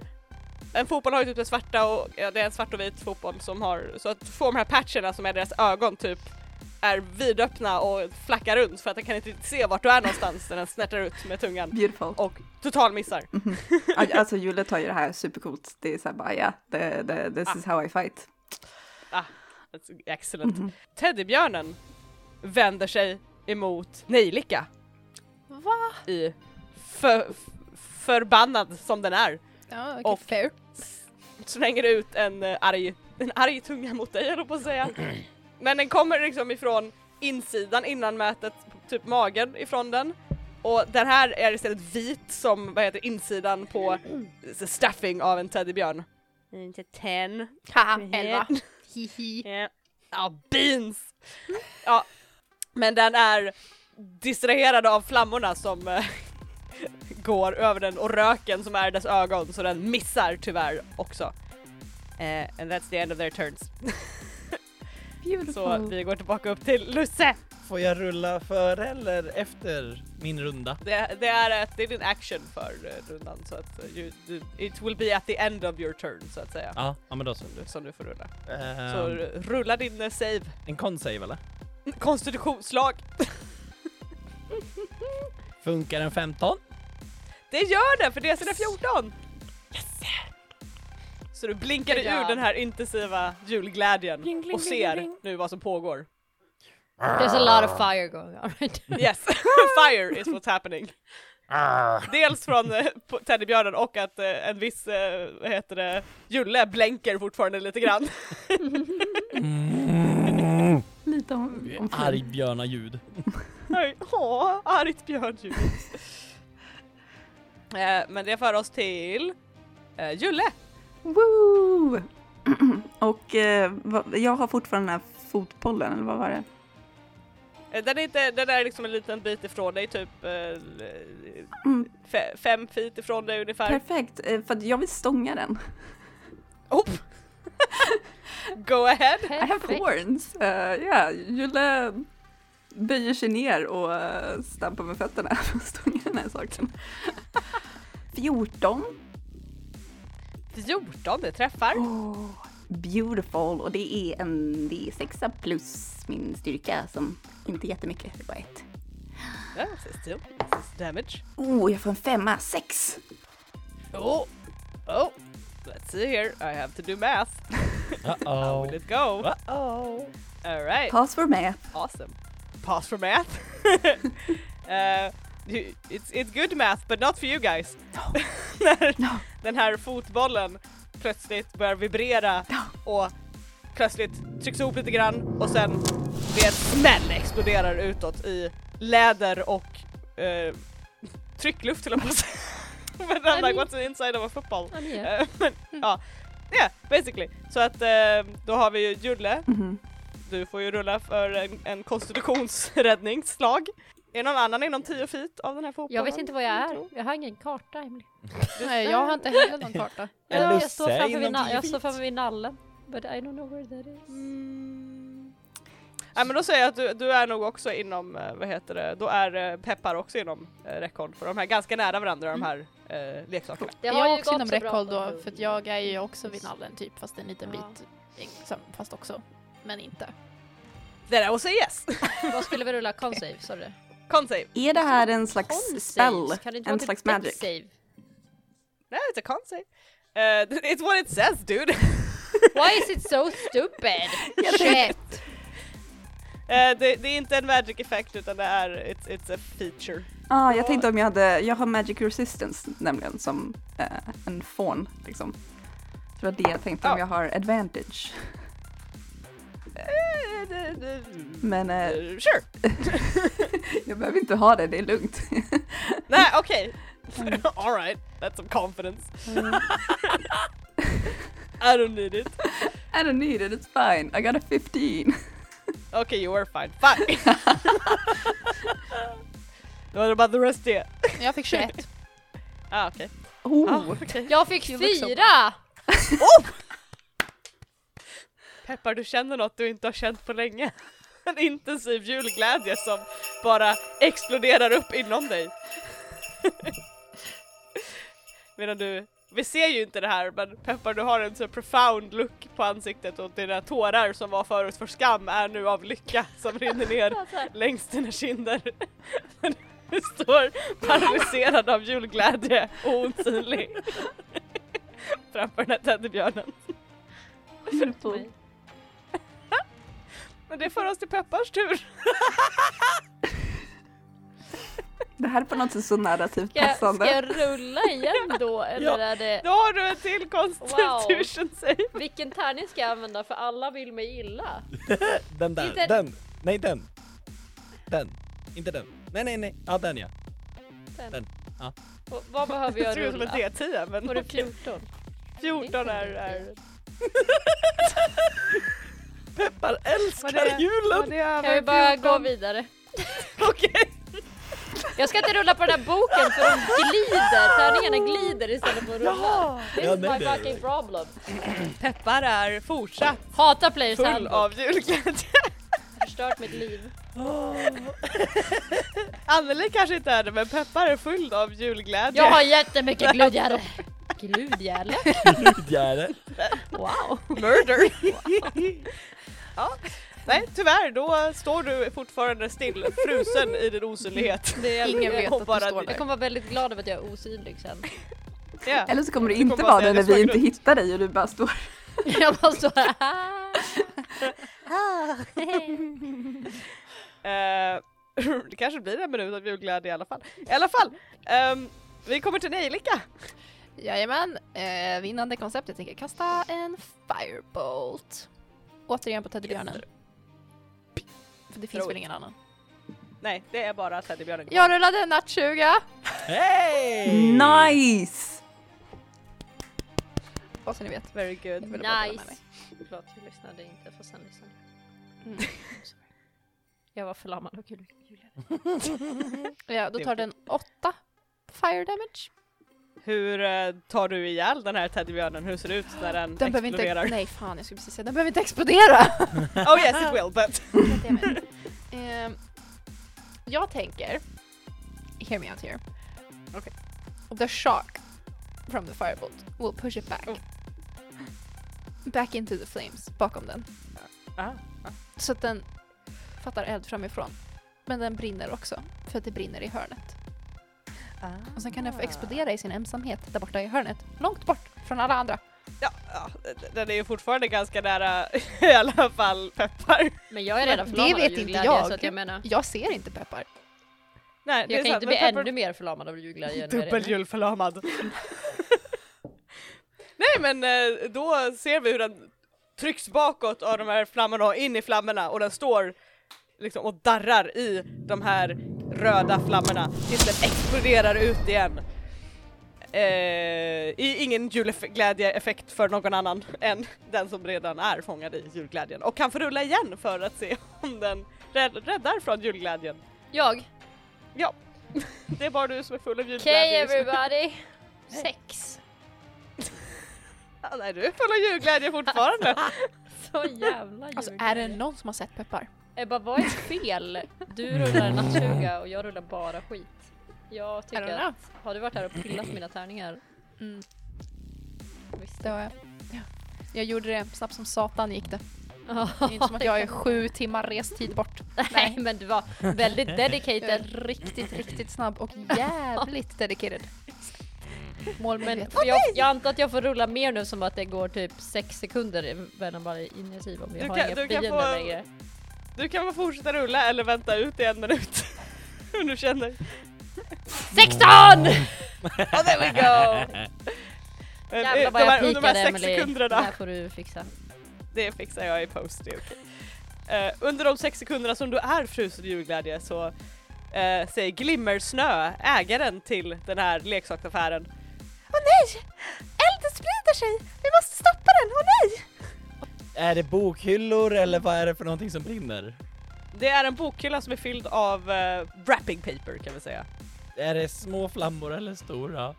C: En fotboll har ju typ en svarta och... Ja, det är en svart och vit fotboll som har... Så att du får de här patcherna som är deras ögon typ är vidöppna och flackar runt för att den kan inte riktigt se vart du är någonstans när den snärtar ut med tungan.
D: Beautiful.
C: Och total missar.
D: Aj, Alltså Julle tar ju det här supercoolt. Det är såhär bara ja, the, the, this is how I fight.
C: That's
D: Mm-hmm.
C: excellent. Teddybjörnen vänder sig emot Nejlika.
E: Va?
C: i för, förbannad som den är.
E: Ja, okej,
C: Och-
E: fair.
C: Slänger ut en eh, arg, en arg tunga mot dig höll jag på att säga. Men den kommer liksom ifrån insidan innan mätet, typ magen ifrån den. Och den här är istället vit som vad heter insidan på s- stuffing av en teddybjörn. Inte ten.
E: Haha, elva. Hihi.
C: Ja, beans! Ja, men den är distraherad av flammorna som eh, går över den och röken som är dess ögon så den missar tyvärr också. Eh, and that's the end of their turns.
D: Beautiful.
C: Så vi går tillbaka upp till Lusse!
G: Får jag rulla före eller efter min runda?
C: Det, det, är, ett, det är din action för eh, rundan så att eh, you, du, it will be at the end of your turn så att säga.
G: Ja, ja men då så.
C: Som, du, som du får rulla. Så
G: Ehm,
C: r- rulla din eh, save.
G: en con save eller?
C: Konstitutionsslag.
G: Funkar en 15?
C: Det gör det för det är sina 14! Yes! Så du blinkade
E: Ja.
C: ur den här intensiva julglädjen
A: Bling, bling,
C: och
A: bling,
C: ser
A: bling, bling.
C: nu vad som pågår.
B: There's a lot of fire going on right now.
C: Yes, fire is what's happening. Dels från eh, på- teddybjörnen och att eh, en viss, eh, vad heter det, Julle blänker fortfarande lite grann.
G: Mm.
D: Lite om, om
G: Arg björnaljud.
C: Oj, Åh, argt björnljud. Eh, Men det för oss till eh, Julle.
D: Woo! Och eh, vad- jag har fortfarande den här fotbollen, eller vad var det?
C: Eh, Den är, inte, den är liksom en liten bit ifrån dig, typ eh, l-
D: Mm,
C: fe, fem feet ifrån dig ungefär.
D: perfekt, eh, för att jag vill stånga den.
C: Oh. Go ahead!
D: I have horns! Eh, Ja, Julle böjer sig ner och eh, stampar med fötterna för att stånga den här saken. 14.
C: 14, det träffar.
D: Oh, beautiful! Och det är en D6 plus min styrka som Inte jättemycket, det är bara ett.
C: Ja, ses till. Ses damage.
D: Oh, jag får en femma, sex!
C: Oh! Oh! Let's see here. I have to do math. How will
G: Uh-oh.
C: it go?
A: Oh.
C: All right.
D: Pass for math.
C: Awesome. Pass for math. uh, you- it's, it's good math, but not for you guys. När den här fotbollen plötsligt börjar vibrera och plötsligt trycks ihop lite grann och sen med ett smäll exploderar utåt i läder och eh, tryckluft till och med. Men I'm like what's inside of a football?
B: Ja, ni är.
C: Eh, Men ja, yeah, basically. Så att eh, då har vi ju Julle
D: Mhm.
C: du får ju rulla för en, en konstitutionsräddningsslag. Är någon annan inom 10 feet av den här fotbollen?
B: Jag vet inte vad jag är. Jag har ingen karta. Emily.
E: Nej, jag har inte heller någon karta.
G: En
B: Jag, jag,
G: lusse
B: står framför vid
G: inom
B: na-
G: tio
B: jag står
G: feet.
B: framför vid nallen. But I don't know where that is.
C: Mm. Nej men då säger jag att du, du är nog också inom, eh, vad heter det, då är eh, Peppar också inom eh, räckhåll för de här är ganska nära varandra
B: Mm.
C: de här eh, leksakerna.
B: Det
E: jag är också inom
B: så bra
E: räckhåll
B: för
E: då,
B: mig.
E: för att jag är ju också vid nallen typ, fast en liten
B: Ja.
E: bit. Liksom, fast också. Men inte.
C: Then I will say yes!
B: Vad skulle vi rulla? Con save, sa du?
C: Con save!
D: Är det här en slags
B: Con
D: spell?
B: saves? Kan det inte
D: En
B: vara
D: slags
B: typ death
D: magic?
B: Save?
C: No it's a con save. Eh, it's what it says dude!
B: Why is it so stupid? Shit!
C: Eh, det, det är inte en magic effect utan det är, it's, it's a feature.
D: Ah, jag tänkte om jag hade, jag har magic resistance nämligen som eh, en fån liksom. Så det var det jag tänkte om
C: Ja.
D: jag har advantage.
C: Eh, det- det-
D: Men eh,
C: eh, sure!
D: jag behöver inte ha det, det är lugnt.
C: Nej okej, alright, that's some confidence. I don't need it.
D: I don't need it, it's fine. I got a 15.
C: Okay you were fine, fine! What about the rest det?
E: Jag fick 21.
C: Ah okej.
D: Oh,
C: Ah, okej.
B: Jag fick
E: You look so
B: fyra!
C: Peppar du känner något du inte har känt på länge. En intensiv julglädje som bara exploderar upp inom dig. Medan du, vi ser ju inte det här men Peppar du har en så profound look på ansiktet och dina tårar som var förut för skam är nu av lycka som rinner ner
B: Alltså,
C: längs dina kinder. Men Du står paralyserad av julglädje och osynlig framför den här teddybjörnen.
B: mig.
C: Men det för oss till Peppars tur.
D: det här är på något sätt så narrativt
B: Ska, ska
D: passande.
B: jag rulla igen då? Eller är det...
C: Då har du en till constitution save.
B: Vilken tärning ska jag använda? För alla vill mig illa.
G: Den där,
B: Inte-
G: den! Nej den! Den, inte den. Nej nej nej, ja den ja.
B: Och vad behöver
C: Det
B: jag
C: ser ut som en
B: rulla?
C: D10 men
B: Var det
C: okej.
B: 14?
C: 14 är... är... Peppar älskar
E: Var det-
C: julen!
B: Kan vi bara gå vidare?
C: Okej,
B: Jag ska inte rulla på den här boken för de glider. Tärningarna glider istället för att rulla. This
G: Ja,
B: is
G: nej,
B: my
G: det är
B: fucking problem.
C: Peppar är fortsatt
B: Hatar players
C: full
B: handbook.
C: av julglädje.
B: Förstört mitt liv.
C: Anneli kanske inte är det men Peppar är full av julglädje.
B: Jag har jättemycket gludjäre. Gludjäre?
G: Gärde.
B: Wow.
C: Murder! ja. Nej tyvärr, då står du fortfarande still, frusen i din osynlighet.
B: Det är
E: Ingen vet
C: kom
E: att du
C: bara
E: står
C: dit.
B: Jag
E: där.
B: kommer vara väldigt glad över att jag är osynlig sen.
C: Ja.
D: Eller så kommer det
C: kommer
D: inte
C: bara
D: vara
C: säga
D: det när
C: det
D: vi
C: som
D: inte
C: grund.
D: hittar dig och du bara står
B: Jag bara så här.
C: Eh, det kanske blir en minut av julglädje i alla fall. I alla fall! ehm, vi kommer till Nejlika!
E: Jajamän, eh, vinnande koncept. Jag tänker kasta en firebolt. Återigen på teddybjörnen. För det finns
C: Throw
E: väl
C: it.
E: ingen annan.
C: Nej, det är bara teddybjörnen.
E: Jag rullade en natt 20
G: Hej!
D: nice!
E: Vad så ni vet.
C: Very good.
E: vill bara dela med
B: Nice.
E: mig.
B: Förlåt, jag lyssnade inte för sen lyssnade Mm. jag. var förlamad av kul.
E: Ja, då
C: Det är
E: tar den 8 fire damage.
C: Hur eh, tar du ihjäl den här teddybjörnen? Hur ser det ut när den,
E: Den behöver inte...
C: Mm. exploderar?
E: Nej fan, jag skulle precis säga den behöver inte explodera!
C: oh yes it will but...
E: Goddammit. Ehm, jag tänker, hear me out here.
C: Okay.
E: The shock from the firebolt will push it back.
C: Oh.
E: Back into the flames, bakom den.
C: Ah,
E: Så att den fattar eld framifrån. Men den brinner också, för att det brinner i hörnet. Ah. Och sen kan
C: Ah.
E: den få explodera i sin ensamhet där borta i hörnet, långt bort från alla andra.
C: Ja, ja, d- den är ju fortfarande ganska nära i alla fall Peppar.
B: Men jag är redan
E: Det
B: förlamad
E: vet
B: av
E: inte
B: julglädje
E: jag.
B: så att jag menar.
E: Jag ser inte Peppar.
C: Nej, det är
B: Jag kan
C: sant,
B: inte
C: men
B: bli
C: Peppar-
B: ännu mer förlamad av julglädje. än vad jag redan är.
C: Dubbelhjulförlamad. Nej men eh, då ser vi hur den trycks bakåt av de här flammorna och in i flammorna och den står liksom och darrar i de här röda flammorna tills den exploderar ut igen. Eh, I ingen julglädjeeffekt för någon annan än den som redan är fångad i julglädjen och kan få rulla igen för att se om den rädd- räddar från julglädjen.
B: Jag.
C: Ja, det är bara du som är full av julglädje.
B: Okej
C: just nu.
B: everybody. Sex.
C: Ja, nej, du är full av julglädje fortfarande.
B: Så jävla
E: Alltså
B: julglädje.
E: är det någon som har sett Peppar?
B: Ebba vad är fel? Du rullar nattsuga och jag rullar bara skit. Jag
E: I don't
B: tycker att, har du varit här och pillat mina tärningar?
E: Mm.
B: Visst.
E: Det har jag. Ja. Jag gjorde det snabbt som satan gick det. Det är inte som att
B: det
E: jag är
B: kan-
E: sju timmar restid bort.
B: Nej men du var väldigt
E: Jag är
B: dedicated.
E: riktigt, riktigt snabb och jävligt dedicated.
D: Mm.
B: Men
E: Målmedveten.
B: jag, jag antar att jag får rulla mer nu som att det går typ sex sekunder mellan varje initiativ om jag
C: Du
B: har
C: kan-
B: inga
C: du kan
B: fiender
C: få-
B: längre.
C: Du kan väl fortsätta rulla eller vänta ut i en minut. Hur du känner.
B: 16!
C: Oh, there we go! Men, eh,
B: Jävlar
C: de
B: vad jag
C: här, under de här
B: pikade
C: sex
B: Emelie. Det
C: sekunderna,
B: här får du fixa.
C: det fixar jag i post, det är okej. Eh, under de sex sekunderna som du är frusen i julglädje så eh, säger Glimmersnö, ägaren till den här leksaksaffären,
F: Åh nej! Elden sprider sig! Vi måste stoppa den! Åh nej!
G: Är det bokhyllor eller vad är det för någonting som brinner?
C: det är en bokhylla som är fylld av eh, wrapping paper kan vi säga.
G: Är det små flammor eller stora?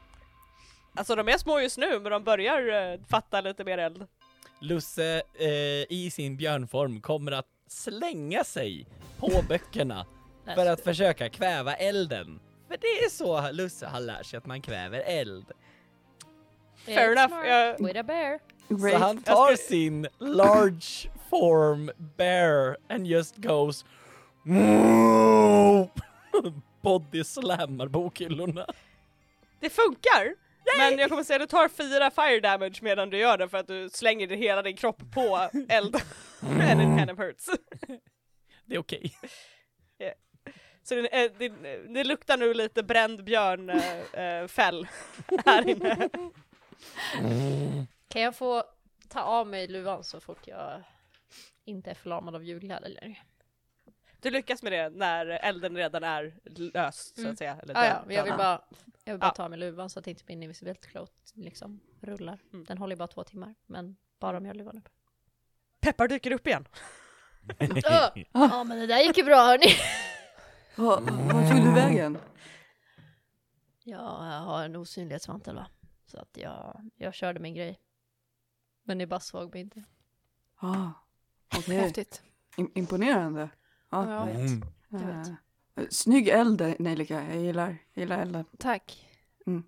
C: Alltså de är små just nu men de börjar eh, fatta lite mer eld.
G: Lusse eh, i sin björnform kommer att slänga sig på böckerna för att försöka kväva elden. För det är så Lusse har lärt sig att man kväver eld.
C: Fair enough. Jag-
B: With a bear.
G: Så han tar sin large form bear and just goes body slammar bokhyllorna.
C: Det funkar! Men jag kommer säga att du tar fyra fire damage medan du gör det för att du slänger hela din kropp på eld. And it kind of hurts.
G: Det är okej.
C: Så det, eh, det, det luktar nu lite bränd björn eh, eh, fäll här inne.
B: Kan jag få ta av mig luvan så fort jag inte är förlamad av julglädje eller?
C: Du lyckas med det när elden redan är lös så
B: Mm.
C: att säga. Eller
B: Ah, ja,
C: död.
B: men jag vill bara, jag vill bara
C: Ja.
B: ta av mig luvan så att inte min invisibility cloak liksom rullar.
C: Mm.
B: Den håller ju bara två timmar, men bara om jag har luvan uppe.
C: Peppar dyker upp igen.
B: Ja,
A: Äh.
B: men det där gick ju bra hörni.
D: Va- Vart Ah, tog du vägen?
B: Jag har en osynlighetsmantel va? Så att jag, jag körde min grej. Men det bara såg mig inte.
D: Ah, Okej,
E: Häftigt.
D: Im- imponerande.
E: Ja, jag vet.
D: Jag
E: vet.
D: Snygg eld, Nejlika. Jag gillar, jag gillar elden.
E: Tack.
D: Mm.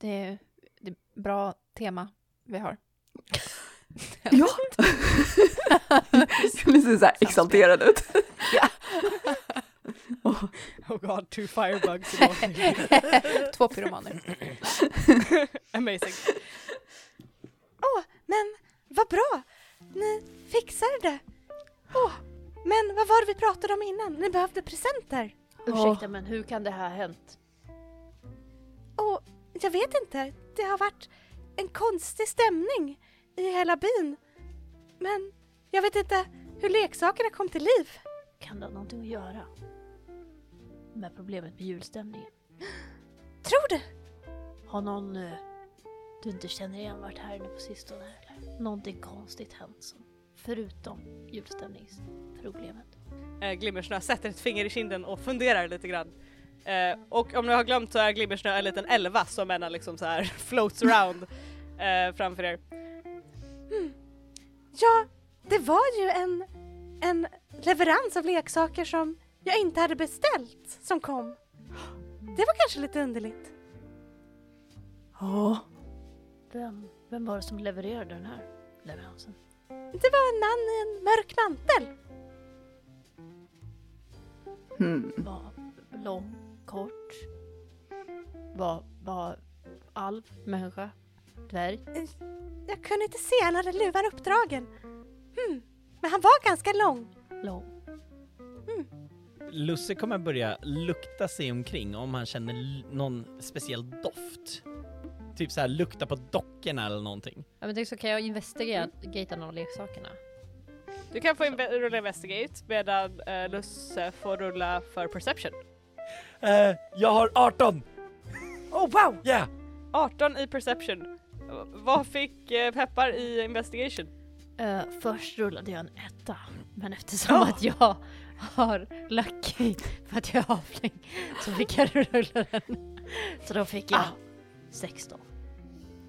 E: Det, är, det är bra tema vi har.
D: Ja! Ni ser såhär exalterad ut.
C: Oh god, two firebugs. in one.
E: Två pyromaner.
C: Amazing.
F: Åh, men vad bra! Ni fixade det! Åh, men vad var det vi pratade om innan? Ni behövde presenter.
B: Ursäkta men hur kan det här ha hänt?
F: Och jag vet inte, det har varit en konstig stämning i hela byn. Men jag vet inte hur leksakerna kom till liv.
B: Kan det ha någonting att göra? Med problemet med julstämningen?
F: Tror du?
B: Har någon eh, du inte känner igen varit här inne på sistone eller? Någonting konstigt hänt som, förutom julstämningsproblemet?
C: eh, Glimmersnö sätter ett finger i kinden och funderar lite grann. Eh, och om ni har glömt så är Glimmersnö en liten elva som ena liksom så här floats around eh, framför er.
F: Ja, det var ju en, en leverans av leksaker som jag inte hade beställt som kom. Det var kanske lite underligt.
D: Ja.
B: Vem, vem var det som levererade den här leveransen?
F: Det var en man i en mörk mantel.
D: Hmm.
B: Var lång, kort. Var, var alv, människa, dvärg.
F: Jag kunde inte se, han hade luvan uppdragen. Hmm. Men han var ganska lång.
B: Lång.
G: Lusse kommer börja lukta sig omkring om han känner l- någon speciell doft. Typ så här lukta på dockorna eller någonting.
B: Ja men tänk så kan jag investigera någon av leksakerna.
C: Du kan få in, rulla investigate medan eh, Lusse får rulla för perception.
G: Eh, jag har 18!
A: Oh wow!
G: Yeah!
C: 18 i perception. Eh, Vad fick eh, Peppar i investigation?
B: Eh, först rullade jag en etta, men eftersom att jag har lucky för att jag är avling så fick jag rulla den. Så då fick jag 16.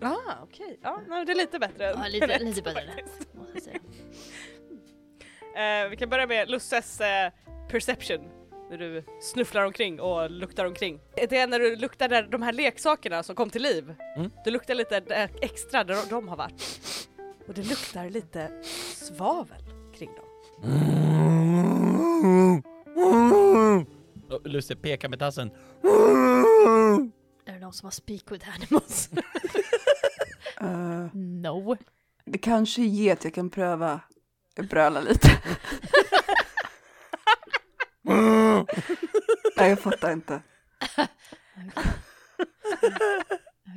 C: Ah okej, ja nej, det är lite bättre. än
B: Ja, lite,
C: rätt.
B: lite bättre än ett, måste jag säga.
C: Eh, vi kan börja med Lusses eh, perception. När du snufflar omkring och luktar omkring. Eh, Det är när du luktar där, de här leksakerna som kom till liv.
G: Mm.
C: Du luktar lite eh, extra där de- de har varit. Och det luktar lite svavel kring dem.
G: Och Lusse pekar med tassen.
B: Är det någon som har speak with animals?
D: Eh,
B: No.
D: det kanske är get jag kan pröva bröla lite. Nej, jag fattar inte.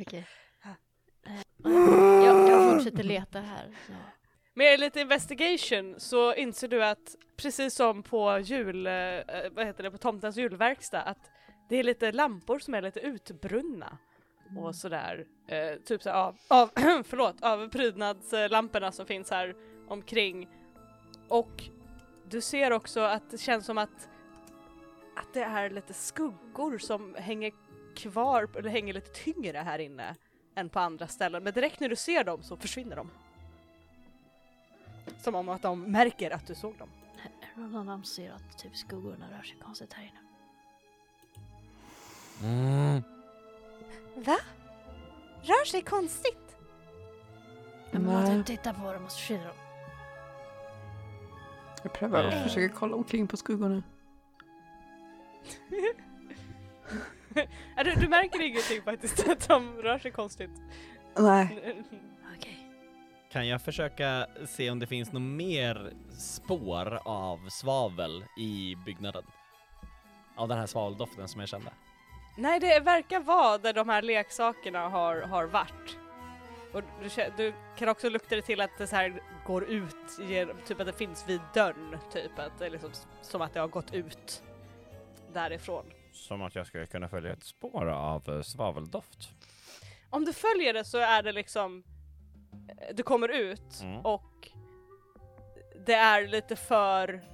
B: Okej. Eh, Jag, jag fortsätter leta här. Så.
C: Med lite investigation så inser du att precis som på jul, eh, vad heter det, på tomtens julverkstad att det är lite lampor som är lite utbrunna och sådär. Eh, typ så av, av, förlåt, av prydnadslamporna som finns här omkring. Och du ser också att det känns som att, att det är lite skuggor som hänger kvar, eller hänger lite tyngre här inne än på andra ställen. Men direkt när du ser dem så försvinner de. Som om att de märker att du såg dem.
B: Är det någon annan som ser att typ skuggorna rör sig konstigt här inne?
F: Va? Rör sig konstigt.
B: Men man
D: Nej.
B: typ tittar på dem och så försvinner de.
D: Jag prövar och
G: Eh.
D: försöker kolla omkring på skuggorna.
C: Ja, Du, du märker ingenting faktiskt, att de rör sig konstigt.
D: Nej,
B: Okej.
G: Kan jag försöka se om det finns något mer spår av svavel i byggnaden? Av den här svaveldoften som jag kände.
C: Nej, det verkar vara där de här leksakerna har, har varit. Och du, kä- du kan också lukta det till att det så här går ut, genom, typ att det finns vid dörren, typ att det är liksom s- som att det har gått ut därifrån.
H: Som att jag skulle kunna följa ett spår av eh, svaveldoft.
C: Om du följer det så är det liksom, eh, du kommer ut
H: Mm.
C: och det är lite för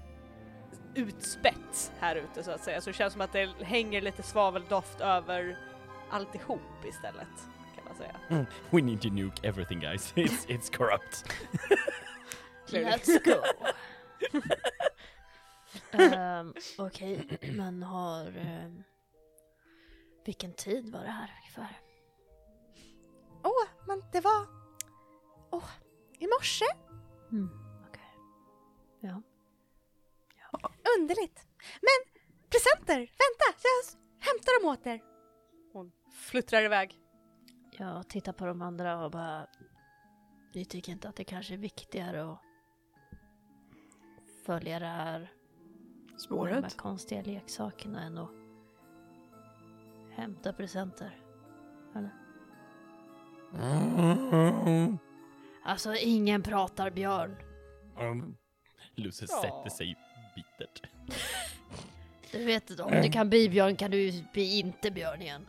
C: utspätt här ute så att säga. Så det känns som att det hänger lite svaveldoft över alltihop istället kan man säga.
G: We need to nuke everything guys, it's, it's corrupt.
B: Let's go. Ehm, Okej, men har... ehm, vilken tid var det här ungefär?
F: Åh, men det var... Åh, i morse.
B: Mm. Okej.
F: Underligt. Men presenter, vänta, jag s- hämtar dem åt er.
C: Hon fluttrar iväg.
B: Jag tittar på de andra och bara... Ni tycker inte att det kanske är viktigare att följa det här med de här
D: spåret.
B: konstiga leksakerna än att hämta presenter? Eller? Alltså, ingen pratar björn.
G: Um, Lucy
C: Ja.
G: sätter sig bittert.
B: Du vet, om du kan bli björn kan du bli inte björn igen.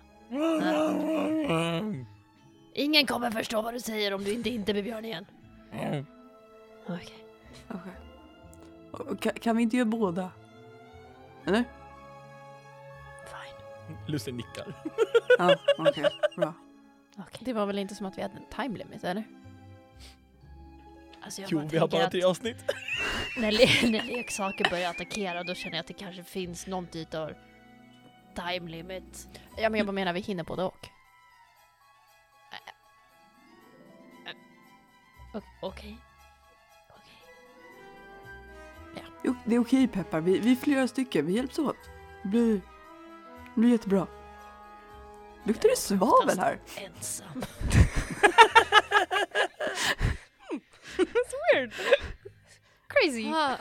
B: Ingen kommer förstå vad du säger om du inte inte blir björn igen. Okej.
D: Okej. Och ka- Kan vi inte göra båda? Eller?
B: Fine.
G: Lucy nickar.
D: Ja, okej. Bra.
B: Okej.
E: Det var väl inte som att vi hade en time limit eller?
B: Alltså jag
G: Jo, vi har
B: tänker
G: bara
B: att
G: tre avsnitt.
B: när, le- när leksaker börjar attackera då känner jag att det kanske finns någon typ av time limit.
E: Ja men jag bara menar vi hinner både och.
B: O- Okej.
D: Jo, Det är okej Peppar, vi, vi är flera stycken, vi hjälps åt. blir, blir jättebra. Luktar det svavel här?
B: Ensam.
E: Crazy.
B: Ah,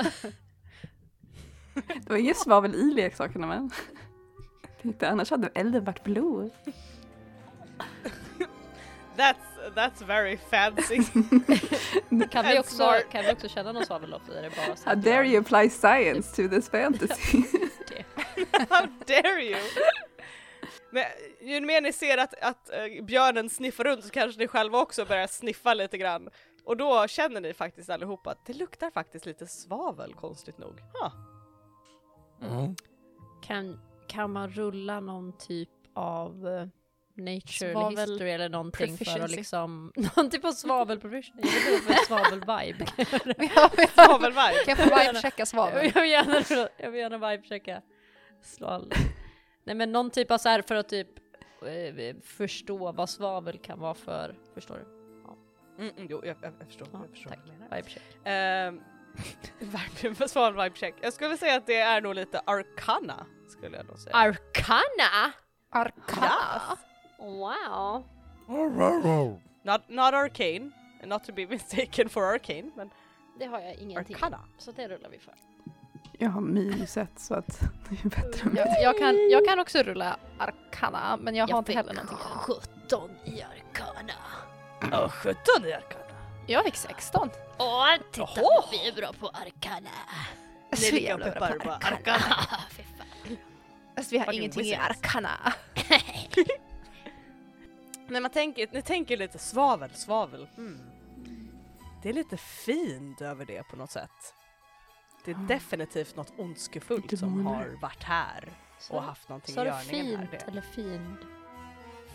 D: Det var inget svavel i leksakerna men. Tänkte, annars hade elden varit blå.
C: That's, that's very fancy.
B: kan, vi
C: And
B: också,
C: smart.
B: kan vi också känna någon svaveldoft? eller Är det bara så
D: How
B: att vi
D: dare
B: har-
D: you apply science to this fantasy?
C: How dare you! Men ju mer ni ser att, att eh, björnen sniffar runt så kanske ni själva också börjar sniffa lite grann. Och då känner ni faktiskt allihopa att det luktar faktiskt lite svavel konstigt nog. Huh.
G: Mm.
B: Kan, kan man rulla någon typ av eh, nature
E: Svavel
B: eller history eller någonting för att
E: proficiency.
B: liksom... Någon typ av svavelprovision? Jag vet inte vad svavelvibe
E: Vi har, vi har,
C: Svavelvibe!
E: kan jag få vibe-checka svavel?
B: Jag vill gärna, rulla- jag vill gärna vibechecka. Slå Nej men någon typ av så här för att typ eh, förstå vad svavel kan vara för, förstår du?
C: Mm, mm, jo, jag, jag, jag förstår.
B: Ja,
C: jag förstår
B: tack.
C: vad du menar.
B: Vibecheck.
C: Ehm, verkligen sval vibe check. Jag skulle säga att det är nog lite arkana skulle jag nog säga.
B: Arcana?
E: Arka.
B: Wow.
C: not, not arcane, not to be mistaken for arcane, men
B: Det har jag ingenting.
C: arkana.
B: Så det rullar vi för.
D: Jag har minus ett så att det är bättre. än-
E: Jag, jag, kan, jag kan också rulla arkana, men jag har inte heller någonting i den.
B: 17 i Arcana.
C: Åh, 17 i arkana.
E: Jag fick 16.
B: Åh, titta vad vi är bra på Arcana.
E: Så
B: Alltså,
C: Ni ligger och
E: jävla bra
C: peppar
E: på
C: bara
E: arkana.
C: arkana.
B: Fy fan.
E: Fast vi har
C: Fucking
E: ingenting i
C: wizards.
E: arkana.
C: När man tänker, ni tänker lite svavel, svavel. Mm. Det är lite fint över det på något sätt. Det är
B: Ah.
D: Ja.
C: definitivt något ondskefullt
D: Lite
C: som
D: målare.
C: har varit här och haft någonting i
B: Ah. Sa du
C: görningen här.
B: fint
C: Det.
B: eller find?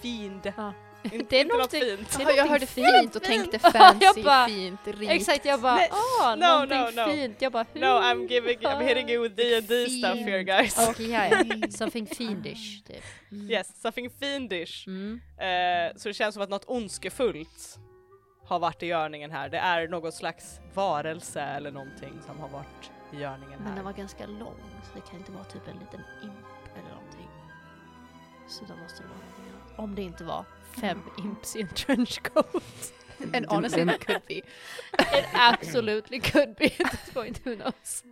C: Fiend.
B: Ja.
C: Inte,
B: Det är
C: inte något
B: någonting-
C: fint.
E: Ja, jag hörde
B: fint.
E: fint och tänkte
B: Ja,
E: fancy,
B: jag bara-
E: fint, rikt.
B: Exakt, jag bara
C: Nej,
B: åh,
C: no,
B: någonting
C: no, no.
B: fint. Jag bara hur?
C: No, I'm giving, I'm hitting you with D&D stuff here guys.
B: Okej, ja, ja. Something fiendish typ. Mm.
C: Yes, something fiendish.
B: Mm.
C: Eh, så det känns som att något ondskefullt har varit i görningen här. Det är något slags varelse eller någonting som har varit i görningen
B: Men
C: här.
B: den var ganska lång så det kan inte vara typ en liten imp eller någonting. Så då måste det vara någonting annat. Om det inte var fem imps i en trenchcoat.
E: And honestly it could be.
B: It absolutely could be at this point, who knows?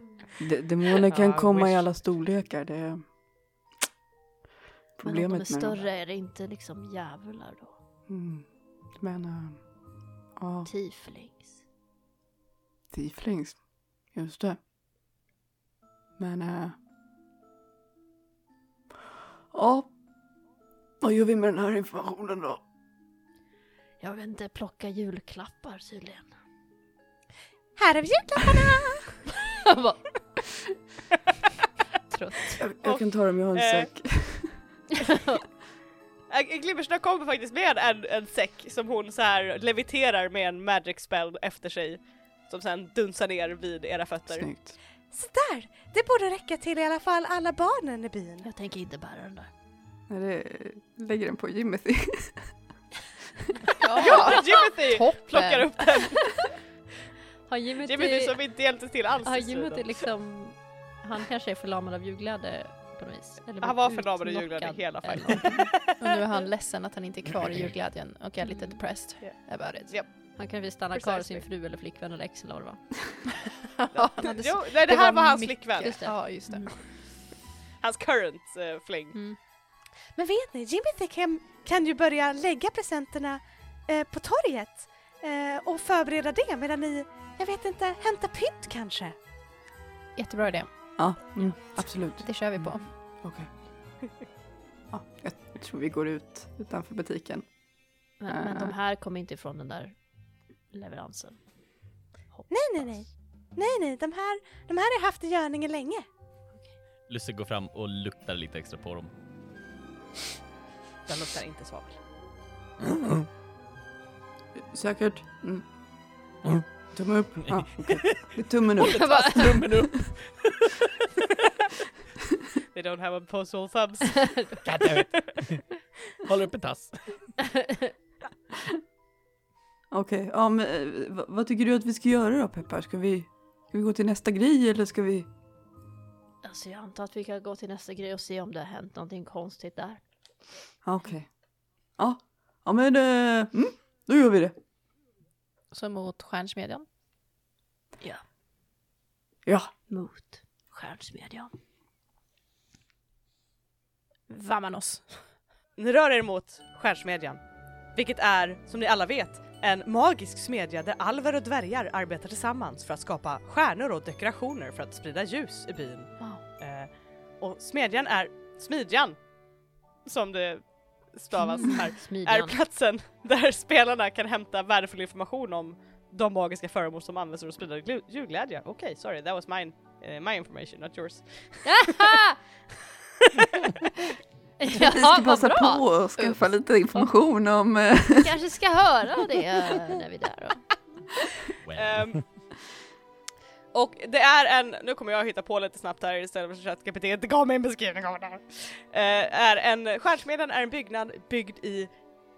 D: De- Demoner kan
C: Ja,
D: komma i
C: wish.
D: alla storlekar. Det är
B: Men om de är
D: problemet med dem.
B: större är det inte liksom djävlar då?
D: Mm. Men, eh, ja,
B: Tieflings?
D: tieflings. Just det. Men, eh, ja. Vad gör vi med den här informationen då?
B: Jag vet inte, plocka julklappar tydligen.
F: Här är vi julklapparna!
B: Jag bara... Trött.
D: Jag, jag kan ta dem, jag har en
C: eh,
D: säck.
C: Ä- Glimmersnö Eh, kommer faktiskt med en, en säck som hon så här leviterar med en magic spell efter sig. Som sen dunsar ner vid era fötter.
D: Snyggt.
F: Sådär! Det borde räcka till i alla fall alla barnen i byn.
B: Jag tänker inte bära den där.
D: Nej, det, lägger den på Jimothy.
C: Ja, Jimothy
E: Toppen!
C: plockar upp den!
B: Har Jimmy
C: Jimothy som inte hjälpte till alls
B: Har
C: i striden.
B: Jimmy liksom... Han kanske är förlamad av julglädje på något vis. Eller
C: Han var förlamad av julglädje
B: utlockad
C: hela
B: eller
C: fighten.
B: någonting.
E: Och nu är han ledsen att han inte är kvar i julglädjen och är lite depressed about it.
C: Japp.
B: Han kanske vill stanna kvar hos sin
C: Precisely.
B: fru eller flickvän eller ex eller vad det var.
E: han hade
C: Jo, nej, det,
E: det
C: här
E: var
C: var hans
E: mycket.
C: flickvän.
B: Just det.
E: Ja, just det.
B: Mm.
C: Hans current eh, fling.
B: Mm.
F: Men vet ni, Jimmy kan, kan ju börja lägga presenterna eh, på torget eh, och förbereda det medan ni, jag vet inte, hämtar pynt kanske?
E: Jättebra idé.
D: Ja, mm, absolut.
E: Det kör vi på.
D: Okej. Ja, jag tror vi går ut utanför butiken.
B: Men, men de här kom inte ifrån den där leveransen. Hoppas.
F: Nej, nej, nej. Nej, nej, de här, de här har jag haft i görningen länge.
G: Lusse går fram och luktar lite extra på dem.
C: Den luktar inte svavel.
D: Säkert? Mm.
G: Mm.
D: Tumme upp? Ja, okej. Det är Tummen upp.
E: Jag bara,
G: Tummen upp!
C: They don't have opposable thumbs.
G: God damn it. Håller upp en tass.
D: Okej, ja, men, eh, vad- vad tycker du att vi ska göra då Peppar? Ska vi, ska vi gå till nästa grej eller ska vi
B: Alltså jag antar att vi kan gå till nästa grej och se om det har hänt någonting konstigt där.
D: Ja, Okej. Ja. ja, men eh, mm, då gör vi det.
E: Så mot Stjärnsmedjan.
D: Ja,
B: Mot Stjärnsmedjan.
E: Vamanos.
C: Ni rör er mot Stjärnsmedjan, vilket är, som ni alla vet, en magisk smedja där alver och dvärgar arbetar tillsammans för att skapa stjärnor och dekorationer för att sprida ljus i byn. Eh, och smedjan är Smidjan, som det stavas här, är
B: Mm. Smidjan.
C: platsen där spelarna kan hämta värdefull information om de magiska föremål som används för att sprida glu- julglädje. Okej, sorry, that was mine, eh, my information, not yours.
B: ja,
D: vi ska
B: vad
D: passa
B: bra!
D: på och skaffa lite information om... eh,
B: Kanske ska höra det eh, när vi är där då.
G: Well.
C: Ehm, och det är en, nu kommer jag hitta på lite snabbt här istället för att ChatGPT inte gav mig en beskrivning av det här. Eh, är en, Stjärnsmedjan är en byggnad byggd i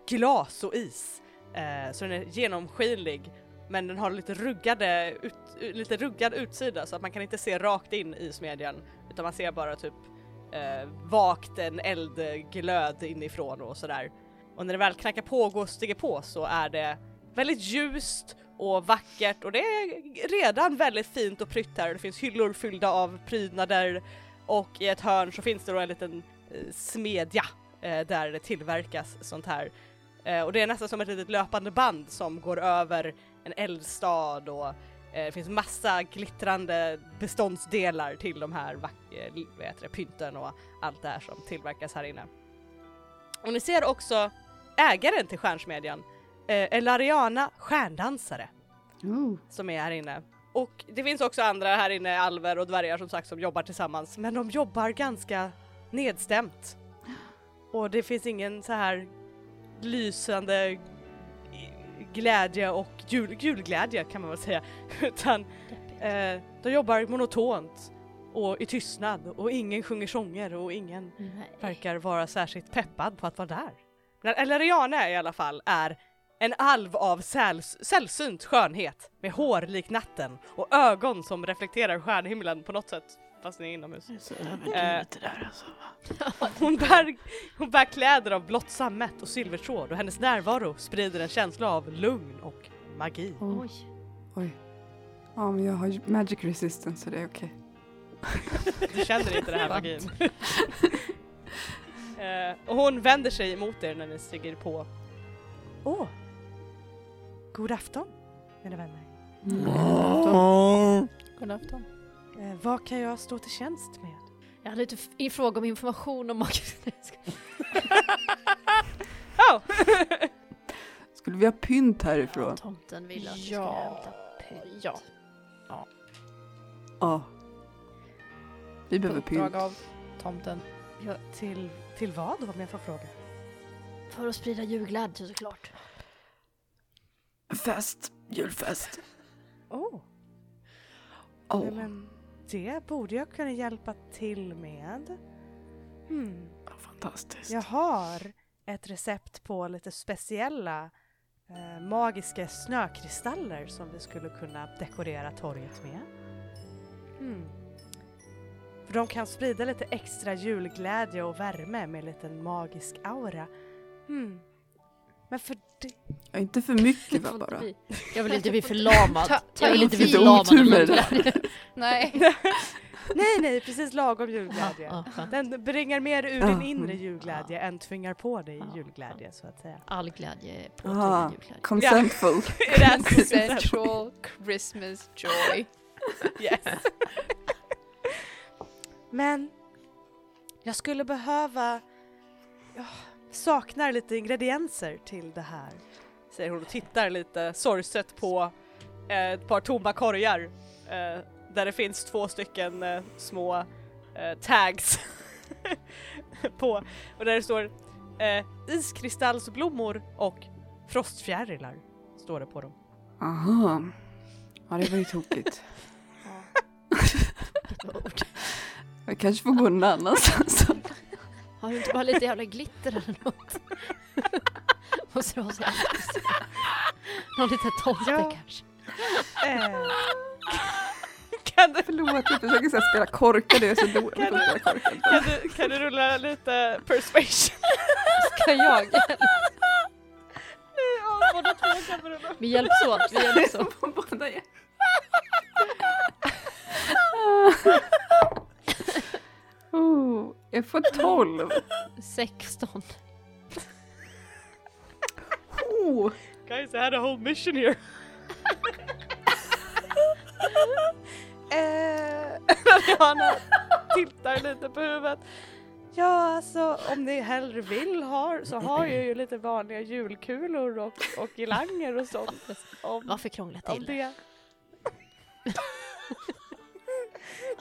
C: glas och is. Eh, så den är genomskinlig men den har lite, ruggade, ut, lite ruggad utsida så att man kan inte se rakt in i smedjan utan man ser bara typ eh, vagt en eldglöd inifrån och sådär. Och när det väl knackar på och går och stiger på så är det väldigt ljust och vackert och det är redan väldigt fint och prytt här. Det finns hyllor fyllda av prydnader och i ett hörn så finns det då en liten eh, smedja eh, där det tillverkas sånt här. Eh, och det är nästan som ett litet löpande band som går över en eldstad och eh, det finns massa glittrande beståndsdelar till de här vack- eh, vad heter det, pynten och allt det här som tillverkas här inne. Och ni ser också ägaren till Stjärnsmedjan, eh, Elariana Stjärndansare som är här inne. Och det finns också andra här inne, alver och dvärgar som sagt som jobbar tillsammans men de jobbar ganska nedstämt. Och det finns ingen så här lysande glädje och jul, julglädje kan man väl säga utan eh, de jobbar monotont och i tystnad och ingen sjunger sånger och ingen
B: Nej.
C: verkar vara särskilt peppad på att vara där. Men Elariana i alla fall är en alv av säls- sällsynt skönhet med hår lik natten och ögon som reflekterar stjärnhimlen på något sätt fast ni är inomhus. Eh, hon, bär, hon bär kläder av blått sammet och silvertråd och hennes närvaro sprider en känsla av lugn och magi.
B: Oj.
D: Ja, men jag har ju magic resistance så det är okej.
C: Du känner inte det här magin. Eh, och hon vänder sig mot er när ni stiger på. Åh! God afton, mina vänner.
E: God afton.
C: Eh, vad kan jag stå till tjänst med?
B: Jag hade lite f- i fråga om information om
D: Skulle vi ha pynt härifrån?
B: Tomten ville att vi skulle
E: Ja.
B: hämta pynt.
E: Ja.
D: Ja. Vi behöver pynt.
E: Uppdrag av tomten.
C: Till, till vad om jag får fråga?
B: För att sprida julglädje såklart.
D: Fest. Julfest.
C: Åh,
D: Åh.
C: nej men det borde jag kunna hjälpa till med. Hmm.
D: Fantastiskt.
C: Jag har ett recept på lite speciella eh, magiska snökristaller som vi skulle kunna dekorera torget med. Mm. För de kan sprida lite extra julglädje och värme med lite magisk aura. Mm. Men för det...
D: Ja, inte för mycket
B: Får
D: va
B: inte
D: bara.
B: bli- Jag vill inte bli förlamad.
E: Ta- ta
B: jag vill
E: in
B: inte bli
E: lite
B: förlamad. av
D: otur med det
B: julglädje.
E: Nej.
C: Nej, nej, precis lagom julglädje.
B: Ja, skönt.
C: Den bringar mer ur
D: Ja.
C: din inre julglädje än tvingar på dig
B: Ja.
C: julglädje så att säga.
B: All glädje är
D: Ah.
B: påtvingad julglädje.
D: Consentful.
E: Central Christmas joy.
C: Yes. Men jag skulle behöva... Jag saknar lite ingredienser till det här. Säger hon och tittar lite sorgset på eh, ett par tomma korgar eh, där det finns två stycken eh, små eh, tags på och där det står eh, iskristallsblommor och frostfjärilar står det på dem.
D: Aha. Ja, det var ju tokigt. Jag kanske får gå någon annanstans.
B: Har du inte bara lite jävla glitter eller något? Måste det vara så jävla speciellt? Någon liten tomte
C: Ja.
B: kanske?
C: Eh, kan du
D: Lo att du försöker så här, spela korkad, jag är så dålig på att spela korkad.
C: Kan du, kan du rulla lite persuasion?
B: Ska jag?
C: Ja, båda två kan rulla.
B: Vi hjälps åt, vi hjälps åt.
D: På båda igen. Oh, jag får 12.
B: 16.
D: Oh,
C: Guys, I had a whole mission here. eh, Mariana tittar lite på huvudet. Ja, alltså om ni hellre vill har så har jag ju lite vanliga julkulor och, och girlanger och sånt. Om,
B: Varför krångla
C: om
B: till det?
C: det.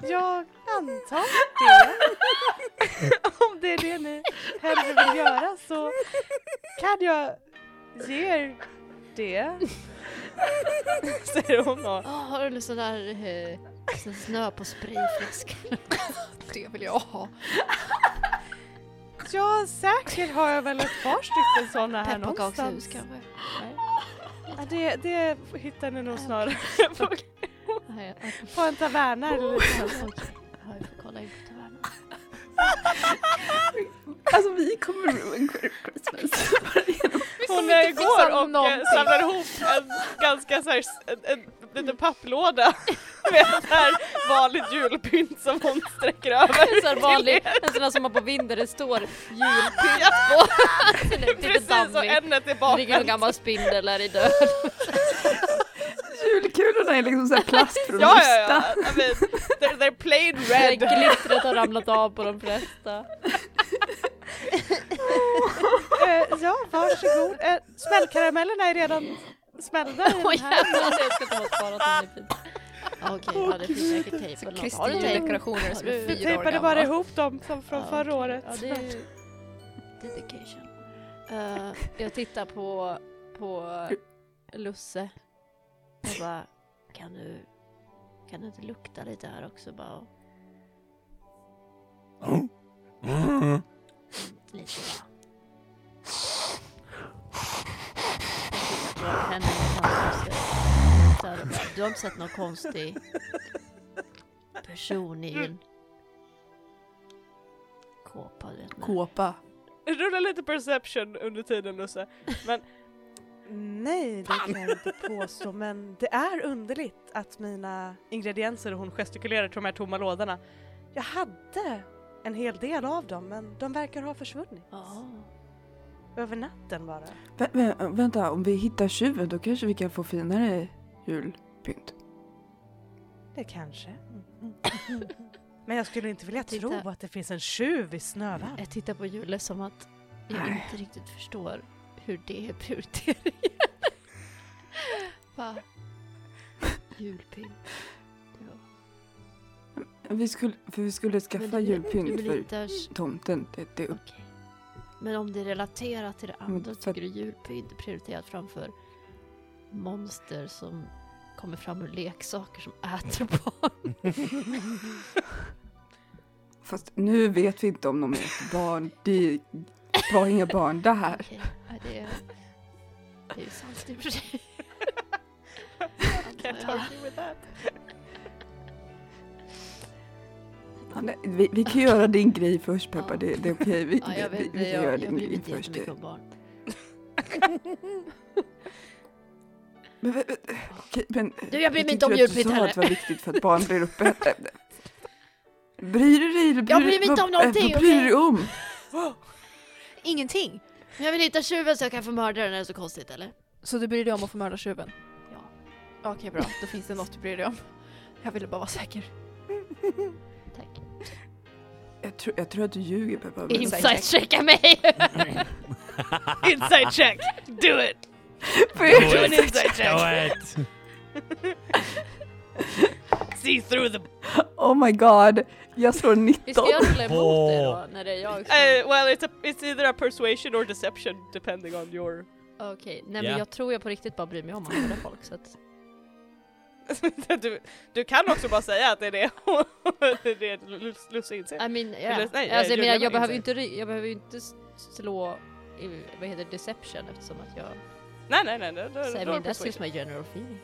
C: Jag antar det. om det är det ni hellre vill göra så kan jag ge er det. Säger hon då.
B: Åh, har du sån där eh, sån snö på sprayflaska?
E: Det vill jag ha.
C: Ja, säkert har jag väl ett par stycken sådana här någonstans.
B: Pepparkakshus kanske?
C: Ja, det, det hittar ni nog snarare på,
B: Nej, okej.
C: på en taverna eller
B: Ja, Okej,
C: liknande.
B: Ja, vi får kolla in på tavernan.
D: alltså vi kommer ruin Christmas.
C: Hon
E: inte
C: eh, går
E: fixar
C: och eh,
E: någonting.
C: samlar ihop en ganska så här, s- en, en liten papplåda med ett här vanligt julpynt som hon sträcker över.
B: En sån här vanlig, en sån här som man på vinden det står julpynt på. Den är Lite
C: Precis, och
B: dammig.
C: ämnet är
B: Det ligger någon
C: bakvänt.
B: gammal spindel där i död.
D: Julkulorna är liksom så här plast från
C: Ja, ja,
D: Rusta.
C: ja. I mean, they're, they're plain
B: Där
C: red.
B: Glittret har ramlat av på de flesta.
C: Eh, ja, varsågod. Eh, smällkaramellerna är redan smällda i
B: Åh
C: den här.
B: jävlar, jag ska ta och spara om det blir fint. Ja, Okej, ja det finns säkert tejp eller något. Har du
E: Kristin
B: tejp?
E: dekorationer som är
B: Vi
C: Vi
E: fyra år
C: tejpade bara
E: gamla.
C: ihop dem som från
B: Ja,
C: förra
B: okej.
C: året.
B: Ja, det är ju dedication. Eh, jag tittar på, på Lusse och bara, kan du, kan du inte lukta lite här också bara? Lite bara. Jag tittar på henne och hans Lusse. Så här, bara, Du har inte sett någon konstig person i en kåpa? Du vet, med-
D: Kåpa.
C: Rulla lite perception under tiden Lusse. Men nej, det kan jag inte påstå men det är underligt att mina ingredienser och hon gestikulerar till de här tomma lådorna. Jag hade en hel del av dem men de verkar ha försvunnit.
B: Ja.
C: Över natten bara.
D: Vä- vä- vänta, om vi hittar tjuven då kanske vi kan få finare julpynt.
C: Det kanske. Men jag skulle inte vilja
B: Titta.
C: tro att det finns en tjuv i snövärlden.
B: Jag tittar på Jule som att jag
D: Nej.
B: inte riktigt förstår hur det är prioriteringen. Va? Julpynt.
D: Vi skulle, för vi skulle
B: Men
D: skaffa
B: det-
D: julpynt
B: du
D: för
B: litar-
D: tomten. Det, det är upp.
B: Okej. Men om det är relaterat till det andra
D: för-
B: tycker du julpynt är prioriterat framför monster som kommer fram ur leksaker som äter barn.
D: Fast nu vet vi inte om de är ett barn. Det var inga barn där.
B: Okej, ja, det, är, det är ju sant i och för sig.
C: Can't argue with that.
D: Ja, nej, Vi, vi kan göra din grej först Peppa, det, det är okej. Vi,
B: Ja, jag
D: vi,
B: vet inte,
D: vi kan göra
B: jag, jag
D: din
B: bryr mig
D: grej
B: inte
D: först.
B: jättemycket om barn.
D: Men, men, men, okej, men,
B: Du, jag bryr mig
D: vilken
B: inte om
D: tur att du
B: julpynt
D: sa
B: heller.
D: att det var viktigt för att barn blir uppätna. Bryr du dig? eller
B: Jag bryr mig inte
D: vad-
B: om någonting,
D: Vad bryr du
B: okej?
D: dig om?
E: Ingenting.
B: Men jag vill hitta tjuven så jag kan få mörda den, är det så konstigt eller?
E: Så du bryr dig om att få mörda tjuven?
B: Ja.
E: Okej, bra. Då finns det något du bryr dig om. Jag ville bara vara säker.
B: Tack.
D: Jag tror, jag tror att du ljuger Peppa. men-
B: Insight checka mig!
C: Inside check! Do it!
D: Får jag-
C: Do an inside check!
H: it!
C: See through the...
D: Oh my god, jag slår 19.
B: Vi ska jag rulla emot dig då när det är jag som...
C: Uh, well, it's, a, it's either a persuasion or deception depending on your...
B: Okej, nej
G: Ja.
B: men jag tror jag på riktigt bara bryr mig om att mörda folk så att...
C: du, du kan också bara säga att det är det, det, är det Lus- Lusse inser.
B: I mean, yeah.
C: Eller, nej,
B: alltså,
C: jag
B: jag, menar,
C: rullar
B: jag, behöver ju inte,
C: insight.
B: ry- jag behöver ju inte s- slå i, vad heter det, deception eftersom att jag...
C: Nej, nej, nej. nej, nej,
B: Så, I
C: nej,
B: mean,
C: nej
B: that's just my general feeling.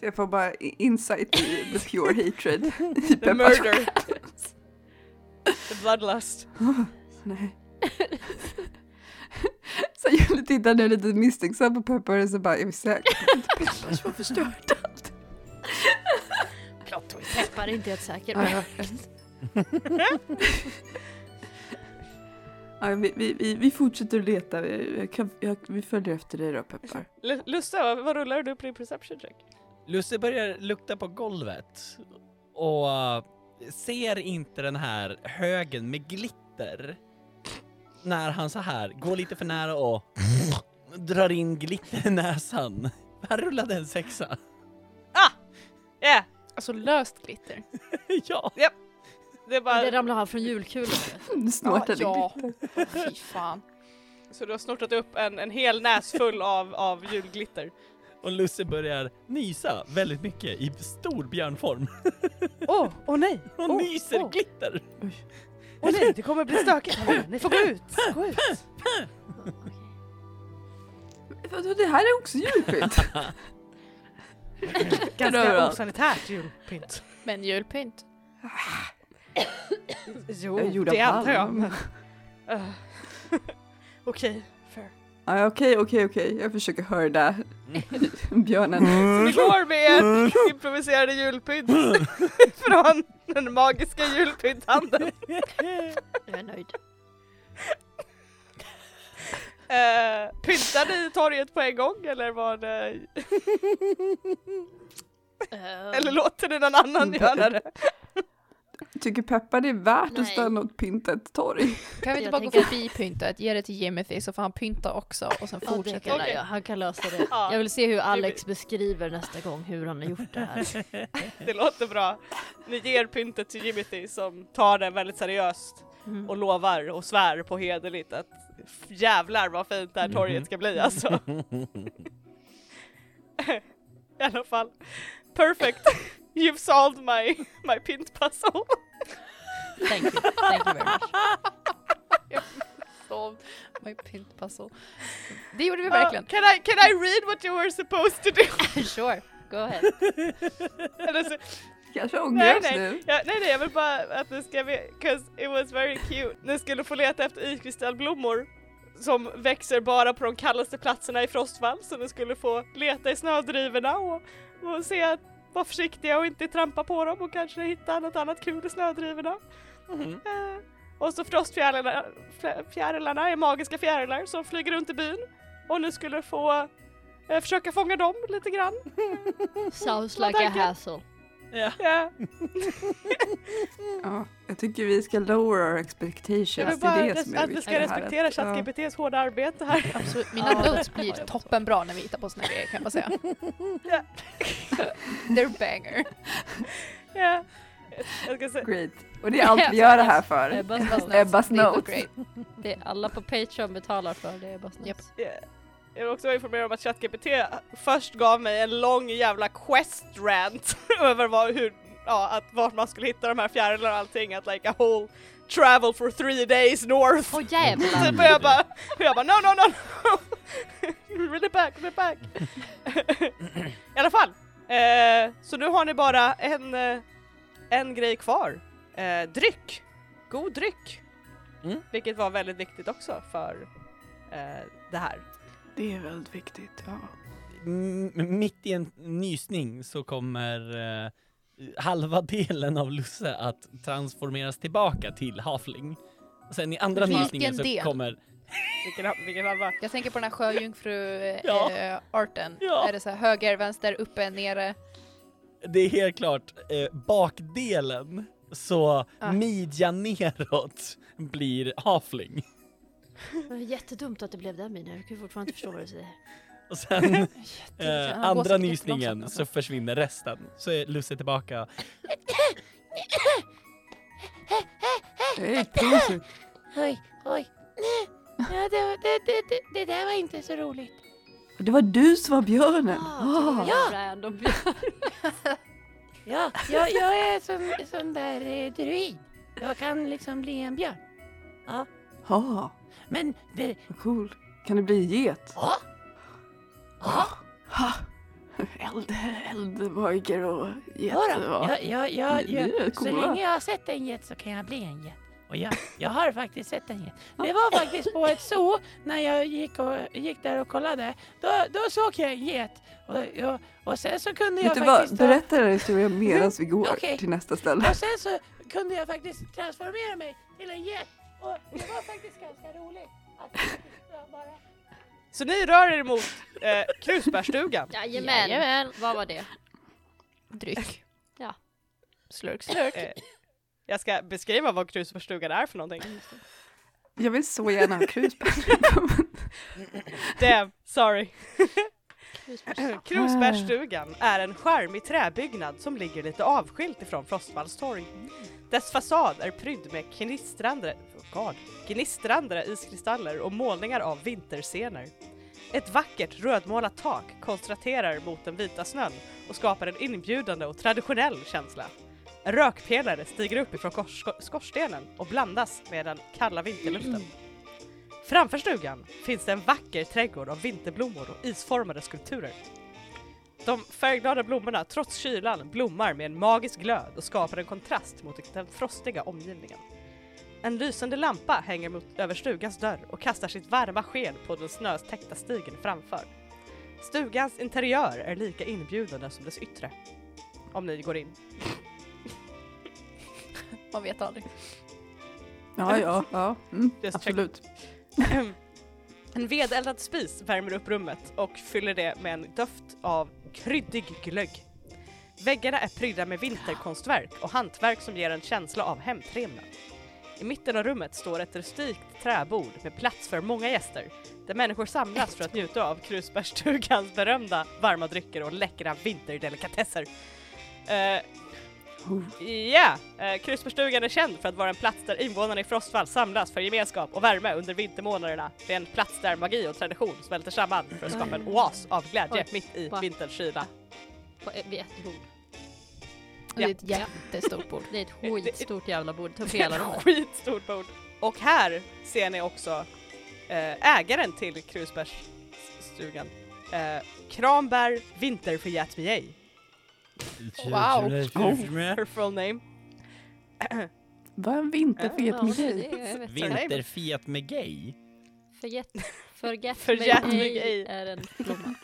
D: Jag får bara i- insight i the pure hatred. I
C: The
D: Peppas-
C: murder. The bloodlust.
D: Nej. så jag tittar nu lite misstänksam på Peppar och så bara, jag visste Peppar som förstört allt.
B: Plot twist. Peppar är inte helt säker.
D: Ja, jag- ja, vi, vi, vi, vi fortsätter att leta, vi, jag kan, jag, vi följer efter dig då Peppar.
C: Lu- Lusse, vad, vad rullar du på din perception check?
G: Lusse börjar lukta på golvet och eh, ser inte den här högen med glitter när han så här går lite för nära och drar in glitter i näsan. Han rullade en sexa.
C: Yeah!
E: Alltså löst glitter.
G: ja,
C: Det är bara,
B: Det ramlar han från julkulan.
D: Du snortade
E: ja.
D: glitter.
E: Fy fan.
C: Så du har snortat upp en, en hel näsfull av, av julglitter.
G: och Lusse börjar nysa väldigt mycket i stor björnform.
C: Åh, åh nej!
G: Och
C: Åh,
G: nyser
C: åh.
G: glitter.
C: Åh nej, det kommer bli stökigt här Ni får gå ut! Gå ut!
D: Vadå, Det här är också djurpynt.
C: Ganska osanitärt julpynt.
E: Men julpynt.
C: Jo,
D: Jag är gjord av
C: det antar jag.
D: palm.
C: men- Eh, Okej, fair.
D: Ja, Okej, okej, okej, jag försöker hörda
C: Mm.
D: björnen.
B: Mm.
C: Vi går med ett improviserade julpynt från den magiska julpynthandeln.
B: Jag är nöjd.
C: Uh, pyntar ni torget på en gång eller eh, var det... Eller låter ni någon annan
B: Mm.
C: göra det?
D: Tycker Peppar det är värt
B: Nej.
D: att stanna och pynta ett torg?
E: Kan vi inte
B: Jag
E: bara
B: tänker-
E: gå förbi pyntet, ge det till Jimothy så får han pynta också och sen
B: Ja, det
E: fortsätter
B: kan
E: vi.
B: jag. Han kan lösa det.
C: Ja.
B: Jag vill se hur Alex beskriver nästa gång hur han har gjort det här.
C: Det låter bra. Ni ger pyntet till Jimothy som tar det väldigt seriöst
B: Mm.
C: och lovar och svär på hederligt att f- jävlar vad fint det här
B: Mm.
C: torget ska bli alltså. I alla fall. Perfect! You've solved my, my pint puzzle.
E: Thank you. Thank you very much. Jag sov my pint puzzle. Det gjorde vi verkligen.
C: Uh, can, I, can I read what you were supposed to do?
E: Sure, go ahead.
C: Eller så-
D: Kanske
C: Nej,
D: ångrar oss
C: nej.
D: nu.
C: Ja, nej, nej, jag vill bara att ni ska veta, 'cause it was very cute. Ni skulle få leta efter iskristallblommor som växer bara på de kallaste platserna i Frostfall, så ni skulle få leta i snödrivorna och, och se att vara försiktiga och inte trampa på dem och kanske hitta något annat kul i snödrivorna. Eh, och så frostfjärilarna fjä- fjärilarna är magiska fjärilar som flyger runt i byn och ni skulle få eh, försöka fånga dem lite grann.
B: Sounds
C: Vad
B: like a
C: tänker-
B: hassle.
C: Ja.
D: Ja, jag tycker vi ska lower our expectations.
C: Jag vill
D: det
C: bara
D: är det som
C: res-
D: är
C: att vi ska
D: viktigt här,
C: respektera
D: att- ja.
C: ChatGPTs hårda arbete här.
E: Absolut. Mina notes blir toppenbra när vi hittar på såna grejer kan jag bara säga.
C: Ja.
E: They're banger.
C: Ja. Jag ska se.
D: Great. Och det är allt vi gör det här för.
B: Ebbas notes.
D: Ebbas
E: Det är så
D: notes.
E: great.
B: Det är alla på Patreon betalar för det. Ebbas notes.
E: Japp.
C: Ja. Jag vill också informera om att ChatGPT först gav mig en lång jävla quest rant över vad, hur, ja, att vart man skulle hitta de här fjärilarna och allting, att like a whole travel for three days north.
B: Åh jävlar!
C: Typ, och jag bara, och jag bara no no no no! Run it back, run it back! I alla fall, eh, så nu har ni bara en, eh, en grej kvar. Eh, dryck! God dryck!
G: Mm.
C: Vilket var väldigt viktigt också för eh, det här.
D: Det är väldigt viktigt. Ja.
G: M- mitt i en nysning så kommer eh, halva delen av Lusse att transformeras tillbaka till Hafling. Och sen i andra
E: Vilken
G: nysningen så
E: del?
G: kommer...
C: Vilken, ha- vilken halva?
E: Jag tänker på den här
G: Ja.
E: sjöjungfru-arten.
G: Ja.
E: Är det så här höger, vänster, uppe, nere?
G: Det är helt klart eh, bakdelen, så
E: Ah.
G: midjan neråt blir Hafling.
B: Det var jättedumt att det blev den minen. Jag kan ju fortfarande inte förstå vad du säger.
G: Och sen
E: han
G: eh,
E: går
G: andra
E: säkert
G: nysningen
E: jättelångsamt,
G: så försvinner resten. Så är Lusse tillbaka.
D: Hey, pussy.
A: Oj, oj. Ja, det, det, det, det, det där var inte så roligt.
D: Det var du som var björnen.
B: Ah,
A: Ja.
B: Random.
A: Ja, jag, jag är som sån där eh, druid. Jag kan liksom bli en björn.
D: Ja,
A: Men det...
D: vad cool. Kan det bli get?
A: Ja. Ja.
D: Ha. Eld, eldbojker och
A: Jodå,
D: jätte...
A: jag, jag, jag,
D: Ni- ni är
A: jag, så
D: coola.
A: länge jag har sett en get så kan jag bli en get. Och jag, jag har faktiskt sett en get. Det var faktiskt på ett zoo när jag gick, och, gick där och kollade. Då, då såg jag en get. Och, och, och sen så kunde
D: Vet
A: jag
D: du vad,
A: faktiskt... ta-
D: berätta den här historien medan vi går
A: Okej.
D: till nästa ställe.
A: Och sen så kunde jag faktiskt transformera mig till en get. Och det var faktiskt ganska roligt. Att jag bara...
C: Så ni rör er mot eh, krusbärstugan.
B: Jajamän. Vad var det?
E: Dryck.
B: Ja.
E: Slurk, slurk.
C: Eh, jag ska beskriva vad krusbärstugan är för någonting.
D: Jag vill så gärna ha krusbär.
C: Damn, sorry. Krusbärsstugan är en charmig träbyggnad som ligger lite avskilt ifrån Frostvalls torg. Dess fasad är prydd med gnistrande, oh God, gnistrande iskristaller och målningar av vinterscener. Ett vackert rödmålat tak kontrasterar mot den vita snön och skapar en inbjudande och traditionell känsla. En Rökpelare stiger upp ifrån kors- skorstenen och blandas med den kalla vinterluften. Framför stugan finns det en vacker trädgård av vinterblommor och isformade skulpturer. De färgglada blommorna, trots kylan, blommar med en magisk glöd och skapar en kontrast mot den frostiga omgivningen. En lysande lampa hänger mot, över stugans dörr och kastar sitt varma sken på den snötäckta stigen framför. Stugans interiör är lika inbjudande som dess yttre. Om ni går in.
E: Man vet aldrig.
D: Ja, ja, ja. Mm,
C: Just check.
D: absolut.
C: En vedeldad spis värmer upp rummet och fyller det med en doft av kryddig glögg. Väggarna är prydda med vinterkonstverk och hantverk som ger en känsla av hemtrevnad. I mitten av rummet står ett rustikt träbord med plats för många gäster, där människor samlas för att njuta av krusbärstugans berömda varma drycker och läckra vinterdelikatesser. Eh, Ja, eh, Krusbärstugan är känd för att vara en plats där invånarna i Frostvall samlas för gemenskap och värme under vintermånaderna. Det är en plats där magi och tradition smälter samman för att skapa en oas av glädje
B: Oj.
C: mitt i
B: Va?
C: vinterns kyla.
B: På ett, vid ett bord.
E: Och Det är ett jättestort bord.
B: Det är ett skitstort jävla bord. Ta upp hela rummet.
C: Skitstort bord! Och här ser ni också eh, ägaren till Krusbärsstugan. Eh, Kramberg Vinterfjätmjej.
E: Wow.
C: Her full
B: Eh,
C: name.
D: Vad är en vinter för
B: Ja, det är-
D: getmigej?
B: jag vet inte.
G: Vinterfet med gay?
B: Forget, forget,
C: Forget
B: me
C: me
B: ej
C: ej.
B: är en blomma.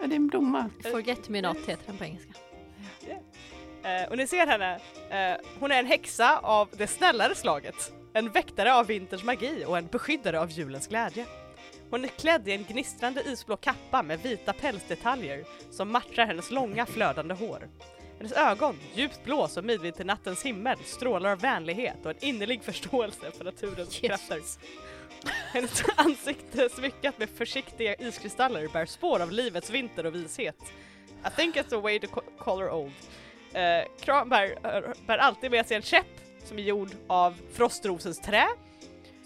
D: Ja, det är en blomma.
B: Forget me not heter den på engelska.
C: Eh, och ni ser henne, eh, hon är en häxa av det snällare slaget. En väktare av vinterns magi och en beskyddare av julens glädje. Hon är klädd i en gnistrande isblå kappa med vita pälsdetaljer som matchar hennes långa flödande hår. Hennes ögon, djupt blå som midvinternattens himmel, strålar av vänlighet och en innerlig förståelse för naturens krafter. Hennes ansikte smyckat med försiktiga iskristaller bär spår av livets vinter och vishet. I think it's a way to co- call her old. Eh, Kranberg eh, bär alltid med sig en käpp som är gjord av frostrosens trä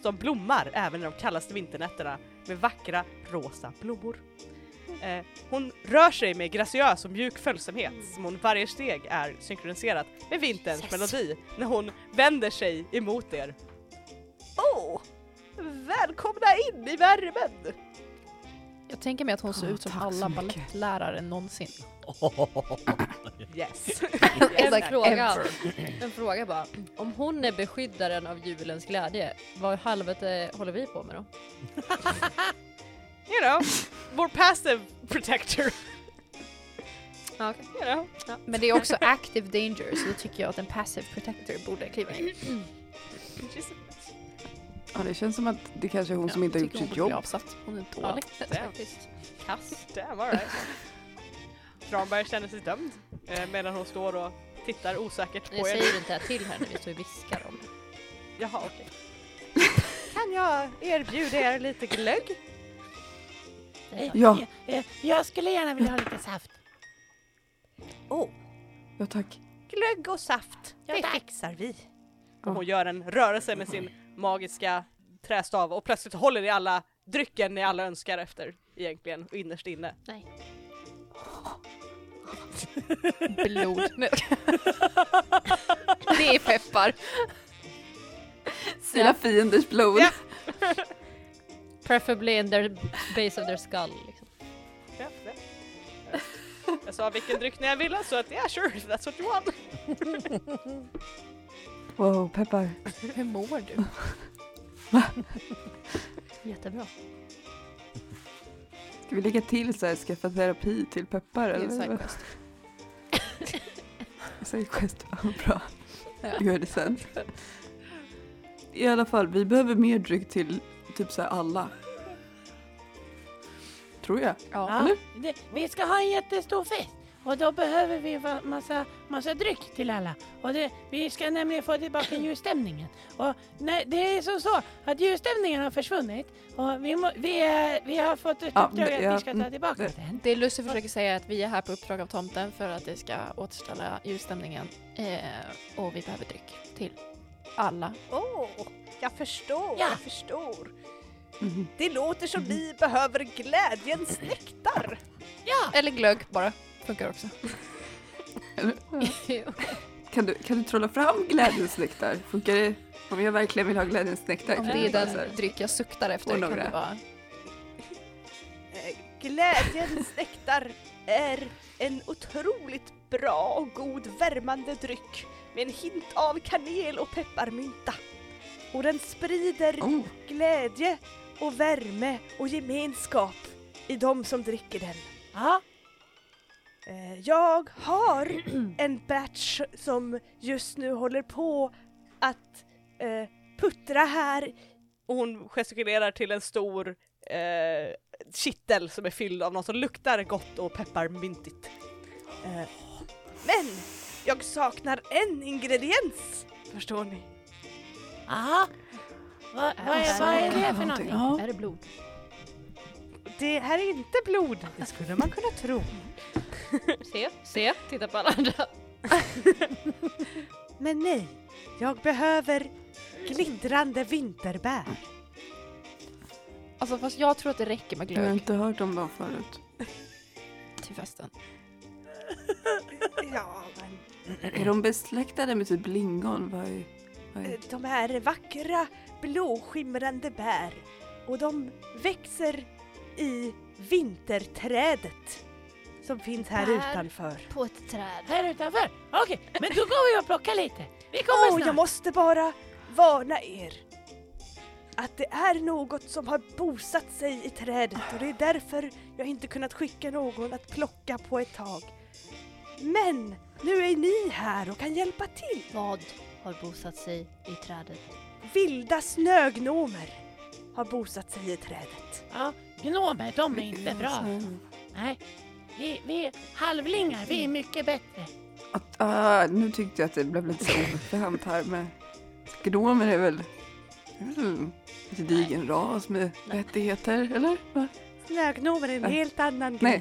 C: som blommar även i de kallaste vinternätterna med vackra rosa blommor. Eh, hon rör sig med graciös och mjuk följsamhet som hon varje steg är synkroniserat med vinterns melodi när hon vänder sig emot er. Åh! Oh! välkomna in i värmen!
E: Jag tänker mig att hon ser ut som alla balettlärare någonsin.
C: Yes.
B: En fråga, en fråga bara. Om hon är beskyddaren av julens glädje, vad i helvete håller vi på med då?
C: you know, more passive protector.
B: Ah, okay.
C: You know.
E: Men det är också active danger så då tycker jag att en passive protector borde kliva in.
C: She's-
D: Ja, det känns som att det kanske är hon som inte har gjort sitt jobb.
E: Avsatt. Hon är dålig.
B: Faktiskt. Kass.
C: Damn alright. Kranberg känner sig dömd eh, medan hon står och tittar osäkert på
B: Jag
C: er.
B: säger inte det här till henne, vi står och viskar om det.
C: Jaha okej. Kan jag erbjuda er lite glögg?
D: Ja.
A: Jag, jag skulle gärna vilja ha lite saft.
D: Ja, tack.
C: Glögg och saft,
A: Ja, tack.
C: fixar vi.
D: Ja.
C: Och hon gör en rörelse med sin magiska trästav och plötsligt håller i alla drycken ni alla önskar efter egentligen innerst inne.
E: Blod. Nej. det är peppar.
D: Sina fienders blod.
C: Ja.
B: Preferably in their base of their skull. Liksom.
C: Jag sa vilken dryck jag ville så att yeah sure, that's what you want.
D: Wow, peppar.
E: Hur mår du?
B: Jättebra.
D: Ska vi lägga till så här, skaffa terapi till peppar
E: Det är
D: eller?
E: en sidequest.
D: Sidequest, vad bra. Gör det sen. I alla fall, vi behöver mer dryck till typ så här alla. Tror jag.
B: Ah.
E: Ja.
A: Ja, det, vi ska ha en jättestor fest och då behöver vi va- massa, massa dryck till alla. Och det, vi ska nämligen få tillbaka julstämningen. Och nej, det är som så att julstämningen har försvunnit och vi, må, vi, eh, vi har fått ett
D: Ja,
A: uppdrag
D: det-
A: att
D: ja,
A: vi ska ta
D: mm,
A: tillbaka
D: det-
A: den.
E: Det är Lucy försöker säga att vi är här på uppdrag av tomten för att det ska återställa julstämningen. Eh, och vi behöver dryck till alla.
F: Åh, jag förstår,
A: Ja.
F: jag förstår.
D: Mm-hmm.
F: Det låter som vi behöver glädjens nektar.
E: Eller glögg bara. Funkar också.
D: Kan du, kan du trolla fram glädjens nektar? Funkar det? Om jag verkligen vill ha glädjens nektar?
E: Om
D: kan
E: det är
D: jag bara så
E: den
D: här-
E: dryck jag suktar efter
D: Och
E: kan
D: några.
E: det vara.
F: Eh, Glädjens nektar är en otroligt bra och god värmande dryck med en hint av kanel och pepparmynta. Och den sprider
D: Oh,
F: glädje och värme och gemenskap i de som dricker den.
A: Ja,
F: Eh, Jag har en batch som just nu håller på att eh, puttra här.
C: Och hon gestikulerar till en stor eh, kittel som är fylld av något som luktar gott och pepparmyntigt.
F: Eh, Men jag saknar en ingrediens, förstår ni.
A: ja. Va, vad, är, vad är det för någonting?
D: Ja.
B: Är det blod?
F: Det här är inte blod, det skulle man kunna tro.
B: Se, se, titta på alla andra.
F: Men nej, jag behöver glittrande vinterbär.
E: Alltså fast jag tror att det räcker med
D: jag har
E: glögg
D: inte hört om dem förut.
E: till festen.
F: Ja, men
D: Är de besläktade med typ lingon? Vad är, vad är...
F: eh, de här vackra blåskimrande bär och de växer i vinterträdet som finns här
B: Bär.
F: utanför.
B: På ett träd.
A: Här utanför? Okej, men då går vi och plockar lite. Vi kommer
F: Åh, Oh, jag
A: snart.
F: måste bara varna er. Att det är något som har bosatt sig i trädet och det är därför jag inte kunnat skicka någon att plocka på ett tag. Men nu är ni här och kan hjälpa till.
B: Vad har bosatt sig i trädet?
F: Vilda snögnomer har bosatt sig i trädet.
A: Ja, gnomer, de är
D: Mm,
A: inte bra. Nej, vi, vi halvlingar, vi är mycket bättre.
D: Att, ah, nu tyckte jag att det blev lite så oförskämt här med gnomer är väl det är väl en gedigen ras med rättigheter, eller? Va?
F: Snögnomer är en
D: Nej.
F: helt annan
D: Nej.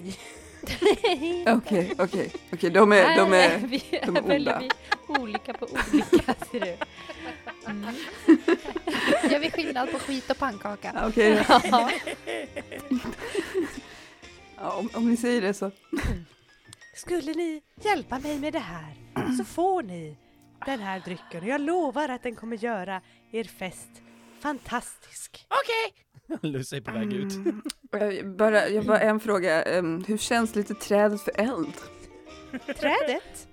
F: grej.
D: Okej, okej, okej, de är, de
B: Här
D: är,
B: Äh, vi,
D: de är
B: väljer
D: onda.
B: vi olika på olika ser du.
E: Gör vi skillnad på skit och pannkaka?
D: ah, okej. Ja, om, om ni säger det så.
F: Skulle ni hjälpa mig med det här så får ni den här drycken och jag lovar att den kommer göra er fest fantastisk.
A: Okej,
G: Lucy är på väg ut.
D: Jag bara, jag bara en fråga, Ehm, hur känns lite trädet för eld?
F: Trädet,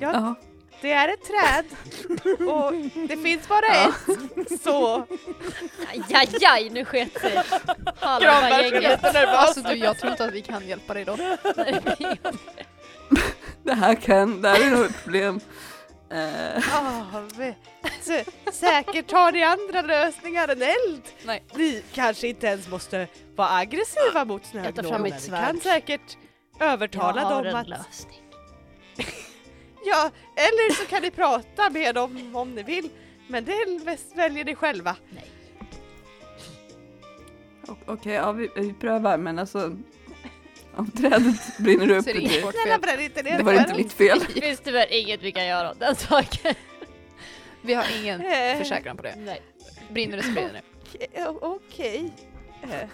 D: Ja,
F: det är ett träd och det finns bara ett. Så
B: Ajajaj, nu sket sig halva gänget.
E: Alltså du, jag tror inte att vi kan hjälpa dig då.
D: det här kan, det här är nog ett problem. Eh,
F: av, så, Ah, säkert har ni andra lösningar än eld.
E: Nej.
F: Ni kanske inte ens måste vara aggressiva mot
B: Jag tar fram
F: snögnomerna.
B: mitt
F: Ni
B: svärd.
F: kan säkert övertala
B: Jag har
F: dem
B: en
F: att
B: lösning.
F: Ja, eller så kan ni prata med dem om ni vill. Men det är bäst väljer ni själva.
D: o- Okej, ja vi, vi prövar men alltså om trädet bränner upp,
E: Så är det inget
D: det,
E: vårt
F: Snälla
E: fel.
F: bränn inte ner
D: det var inte
F: för
D: mitt fel.
B: Det finns tyvärr inget vi kan göra åt den saken.
E: Vi har ingen
F: Eh,
E: försäkran på det.
B: Nej.
E: Brinner det så brinner det.
F: eh, Okej. Eh,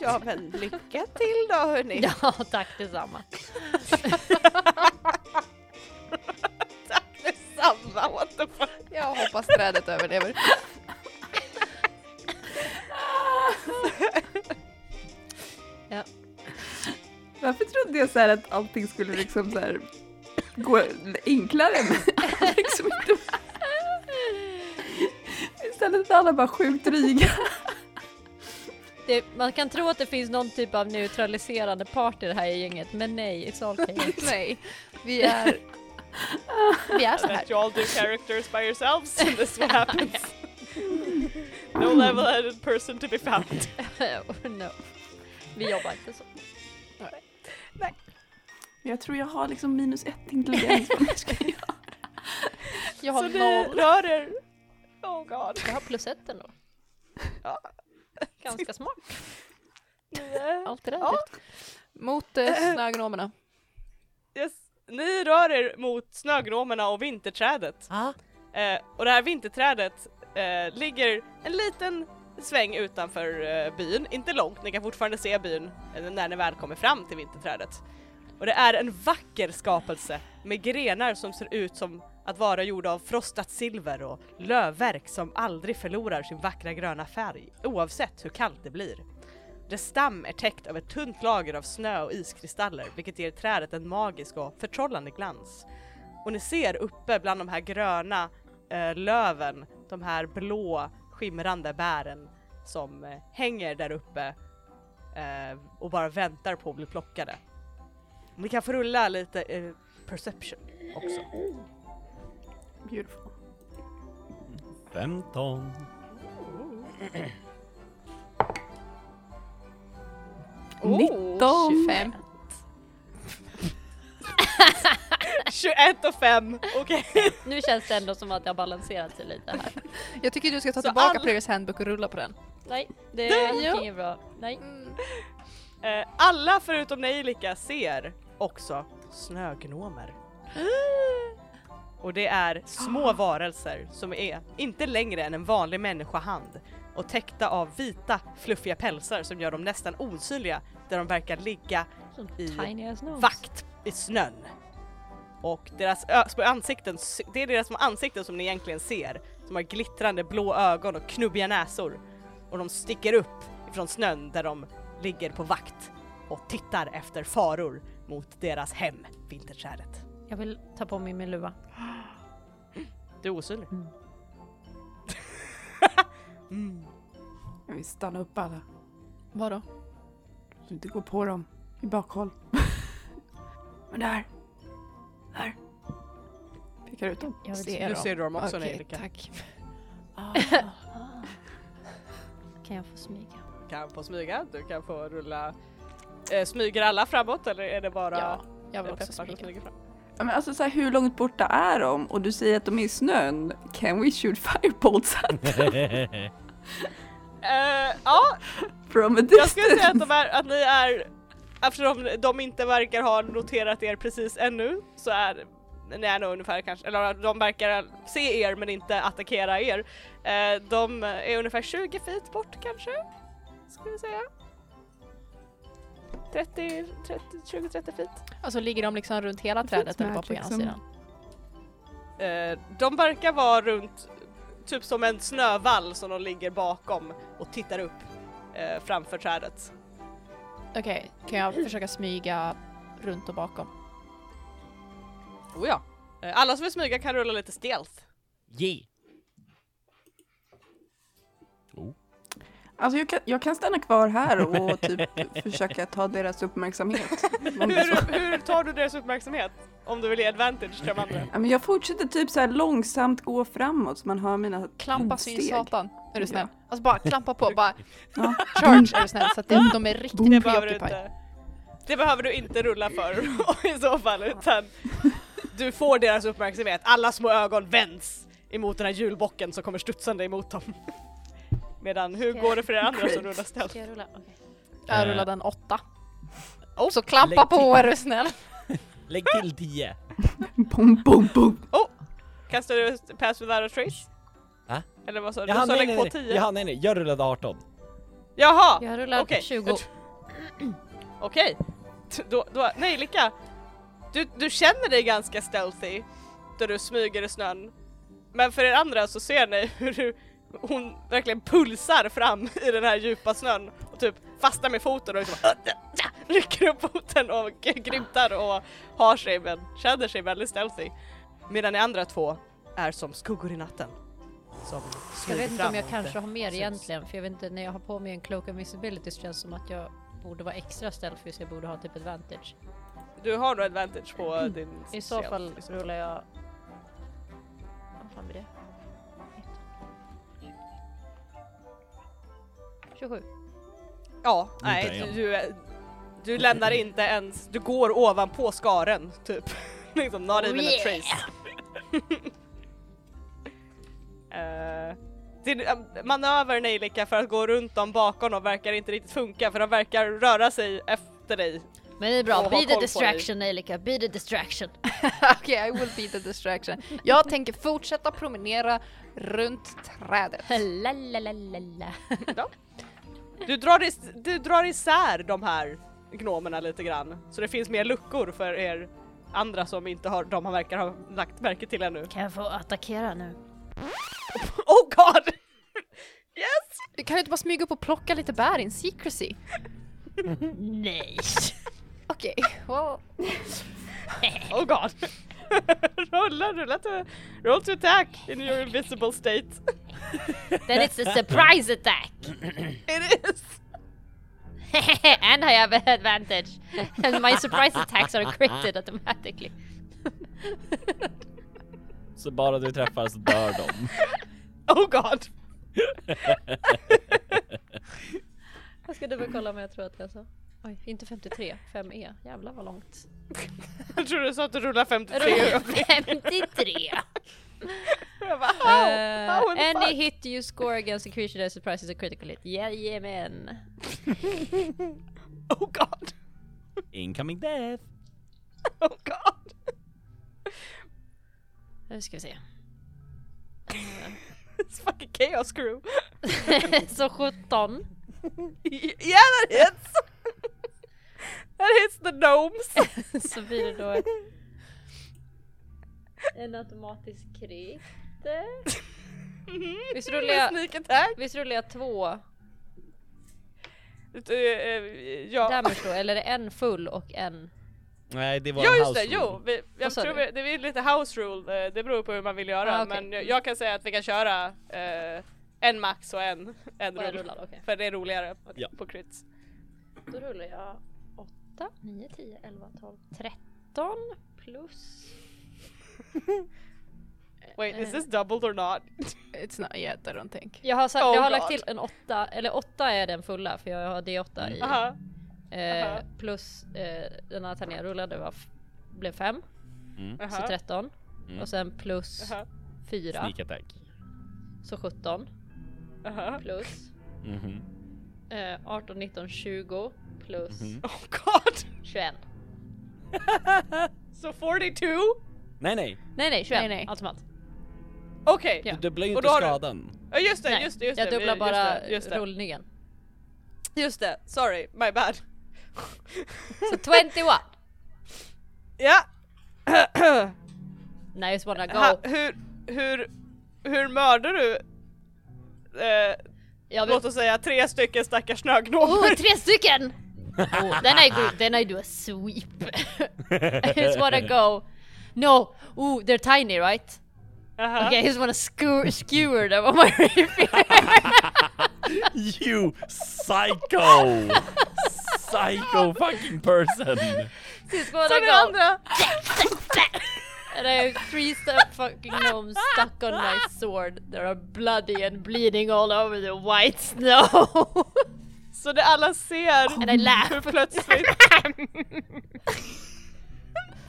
F: Ja men lycka till då hörni.
B: Ja, tack detsamma.
F: Samma, what the fuck.
E: Jag hoppas trädet överlever.
D: Varför trodde jag så här att allting skulle liksom så här gå enklare men liksom inte. Istället är alla bara sjukt dryga.
B: Det, man kan tro att det finns någon typ av neutraliserande part i det här gänget, men nej, it's all chaos.
E: Nej, vi är... Vi är så här.
C: Let you all do characters by yourselves and this will happen. No level-headed person to be found.
B: Oh, no. Vi jobbar inte så.
D: Jag tror jag har liksom minus ett intelligens.
B: Jag
C: Så
B: har
C: ni
B: noll.
C: rör er. Oh god.
B: Jag har plus ett ändå.
C: Ja.
B: Ganska smart.
C: Ni, eh,
B: Allt är
C: Ja.
B: relativt.
E: Mot eh, snögnomerna.
C: Yes. Ni rör er mot snögnomerna och vinterträdet.
A: Ja.
C: Eh, och det här vinterträdet eh, ligger en liten sväng utanför eh, byn, inte långt, ni kan fortfarande se byn eh, när ni väl kommer fram till vinterträdet. Och det är en vacker skapelse med grenar som ser ut som att vara gjorda av frostat silver och lövverk som aldrig förlorar sin vackra gröna färg oavsett hur kallt det blir. Dess stam är täckt av ett tunt lager av snö och iskristaller vilket ger trädet en magisk och förtrollande glans. Och ni ser uppe bland de här gröna eh, löven, de här blå skimrande bären som eh, hänger där uppe eh, och bara väntar på att bli plockade. Ni kan få rulla lite eh, perception också.
D: Beautiful.
H: 15.
C: Oh,
E: 25.
C: 21 och 5, okej.
B: Nu känns det ändå som att jag har balanserat sig lite här.
E: Jag tycker du ska ta
C: Så
E: tillbaka
C: alla-
E: Players Handbook och rulla på den.
B: Nej, det
C: Det-
B: gick
E: ja.
B: inget bra. Nej.
C: Eh, alla förutom Nejlika ser också snögnomer. Och det är små varelser som är inte längre än en vanlig människohand och täckta av vita fluffiga pälsar som gör dem nästan osynliga där de verkar ligga
B: Som
C: I
B: tiny as nose.
C: vakt i snön. Och deras ö- små ansikten, sy- det är deras små ansikten som ni egentligen ser. Som har glittrande blå ögon och knubbiga näsor. Och de sticker upp ifrån snön där de ligger på vakt och tittar efter faror mot deras hem, vinterträdet.
B: Jag vill ta på mig min luva.
C: Du är osynlig.
E: Mm.
D: Jag vill stanna upp alla.
E: Vadå?
D: Så inte gå på dem i bakhåll. Men där. Där. Pekar ut dem.
B: Jag vill
E: Se.
B: se.
E: Är
C: Nu
E: de?
C: ser du dem också
E: Okej,
C: Nejlika.
E: tack.
C: Ah.
B: Kan jag få smyga?
C: Du kan få smyga, du kan få rulla. Eh, smyger alla framåt eller är det bara
E: Ja, jag vill
C: Peppar
E: också
C: som
E: smyga.
C: smyger fram?
D: Ja, Men alltså så här, hur långt borta är de? Och du säger att de är i snön. Can we shoot firebolts at
C: Eh, ja,
D: from a
C: Jag skulle säga att,
D: distance?
C: de är, att ni är, eftersom de inte verkar ha noterat er precis ännu så är ni är nog ungefär kanske, eller de verkar se er men inte attackera er. Eh, de är ungefär 20 feet bort kanske, skulle jag säga. 30, 30 20-30 feet.
E: Alltså ligger de liksom runt hela
D: Det
E: trädet
D: finns
E: eller bara på
D: magic
E: ena
D: som-
E: sidan?
C: Eh, de verkar vara runt, typ som en snövall som de ligger bakom och tittar upp eh, framför trädet.
E: Okej, kan jag försöka smyga runt och bakom?
C: Oh ja. Eh, alla som vill smyga kan rulla lite stealth.
G: Ge!
D: Alltså jag kan, jag kan stanna kvar här och typ försöka ta deras uppmärksamhet. Om det är så.
C: Hur, hur tar du deras uppmärksamhet? Om du vill ge advantage till de andra?
D: Ja, men jag fortsätter typ så här långsamt gå framåt så man hör mina
E: Klampa
D: steg.
E: sin satan, är du snäll.
D: Ja.
E: Alltså bara klampa på, bara
D: Ja.
E: charge är du snäll så att de, de är riktigt
C: Det behöver, du
E: preoccupied.
C: inte, det behöver du inte rulla för i så fall utan du får deras uppmärksamhet. Alla små ögon vänds emot den här julbocken som kommer studsande emot dem. Medan hur går det för er andra som rullar stealth?
B: Ska jag rulla? Okej.
E: Jag
G: Eh.
E: rullade en åtta.
C: Oh.
E: Så klampa
G: Lägg
E: på är du snäll.
G: Lägg till 10.
D: Bom, bom, bom.
C: Kastar du pass without a trace?
G: Va?
C: Eller vad sa du? Du
G: Jaha,
C: sa
G: nej,
C: lägg
G: nej,
C: på
G: nej.
C: 10?
G: Jaha, nej, nej. Jag rullade 18.
C: Jaha!
B: Jag rullar
C: Okej.
B: 20.
C: Okej, T- då, då, nej Lika! Du, du känner dig ganska stealthy då du smyger i snön. Men för er andra så ser ni hur du, hon verkligen pulsar fram i den här djupa snön och typ fastnar med foten och liksom rycker upp foten och grymtar och har sig men känner sig väldigt stealthy. Medan ni andra två är som skuggor i natten. Som
I: Jag
C: smyger
I: vet inte om
C: fram
I: jag
C: mot
I: kanske har mer
C: syns.
I: egentligen, för jag vet inte, när jag har på mig en cloak of invisibility så känns det som att jag borde vara extra stealthy så jag borde ha typ advantage.
C: Du har nog advantage på din
I: Mm.
C: liksom.
I: I så
C: stealth.
I: fall rullar jag... Vad fan blir det? 27.
C: Ja,
J: Inte
C: nej
J: än.
C: du, du, är- du lämnar inte ens, du går ovanpå skaren typ. liksom not even a trace. Eh, din eh, manöver Nejlika för att gå runt dem bakom dem verkar inte riktigt funka för de verkar röra sig efter dig.
I: Men det är
C: Åh,
I: bra,
C: vad
I: be
C: koll på
I: the
C: dig.
I: distraction Elika, be the distraction.
E: Okej, I will be the distraction. Jag tänker fortsätta promenera runt trädet.
I: La, la, la, la, la.
C: Du drar, is- du drar isär de här gnomerna lite grann så det finns mer luckor för er andra som inte har, de verkar ha lagt märke till ännu.
I: Kan jag få attackera nu?
C: Oh god!
E: Du kan ju inte bara smyga upp och plocka lite bär in secrecy.
I: Nej!
E: Okej, well.
C: Oh god! rulla, rulla to, roll to attack in your invisible state.
I: Then it's a surprise attack!
C: It is!
I: and I have an advantage. And my surprise attacks are critted automatically.
G: Så bara du träffar så dör de.
C: Oh god!
I: Jag ska dubbelkolla men jag tror att jag sa. Oj, inte 53, 5E. Jävlar vad långt.
C: Jag tror du sa att du rullar 53 och blev-
I: 53!
C: jag bara,
I: Uh,
C: "How? How in the
I: any
C: fuck?"
I: hit you score against a creature that surprises a critical hit. Jajamän!
C: Oh god!
G: Incoming death!
C: Oh god!
I: Nu ska vi se.
C: It's fucking chaos crew!
I: Så 17.
C: Yeah that hits! that hits the gnomes!
I: Så blir det då en automatisk krit. Visst rullar jag-
C: Mm-hmm. Sneak attack!
I: Visst rullar jag två
C: Eh, eh, Ja,
I: damage då? Eller är det en full och en...
G: Nej det var
C: ja
G: en
C: just det,
G: house
C: jo!
G: rule.
C: Vi, jag
I: Vad sa
C: tror
I: du?
C: vi, det är lite house rule, eh, det beror på hur man vill göra
I: Ah, okej.
C: men jag, jag kan säga att vi kan köra eh, en max och en, en
I: Och en
C: rull.
I: rullad, okej.
C: För det är roligare på,
G: Ja.
C: på crits.
I: Då rullar jag 8, 9, 10, 11, 12, 13 plus...
C: Wait
I: Eh.
C: is this doubled or not?
E: It's not yet, I don't think.
I: Jag har, sagt,
C: Oh
I: jag har
C: God.
I: lagt till en 8, eller 8 är den fulla för jag har D8 i.
C: Aha. aha.
I: Eh, plus eh, den här tärningen jag rullade var f- blev 5, så
C: Aha.
I: 13. Och sen plus
C: Aha.
I: 4,
G: Sneak attack.
I: så 17.
C: Aha.
I: Plus
G: Mhm.
I: eh, 18, 19, 20. Plus
C: Oh god!
I: 21.
C: Så 42?
G: Nej nej,
I: Nej nej 21,
E: Nej, nej.
I: allt som allt.
C: Okej!
I: Ja.
G: du dubblar ju
C: Och
G: inte
C: då har du-
G: skadan.
C: Ja just det,
I: Nej,
C: just det, just
I: jag
C: det.
I: dubblar
C: Vi-
I: bara
C: just det, just det.
I: rullningen.
C: Just det, sorry, my bad.
I: Så 21!
C: Ja!
I: Nice wanna go.
C: ha, hur, hur, hur mördar du? Eh,
I: jag vill...
C: låt oss säga tre stycken stackars snögnomer.
I: Oh, tre stycken! Oh, then I go, then I do a sweep. I just wanna go. No, ooh, they're tiny, right?
C: Aha.
I: Okay, I just wanna skewer, skewer them on my rapier.
G: You psycho! psycho fucking person!
I: Just wanna
C: Så
I: go.
C: ni andra,
I: And I have three st- fucking gnomes stuck on my sword. They are bloody and bleeding all over the white snow.
C: så ni alla ser
I: and I laugh.
C: hur plötsligt...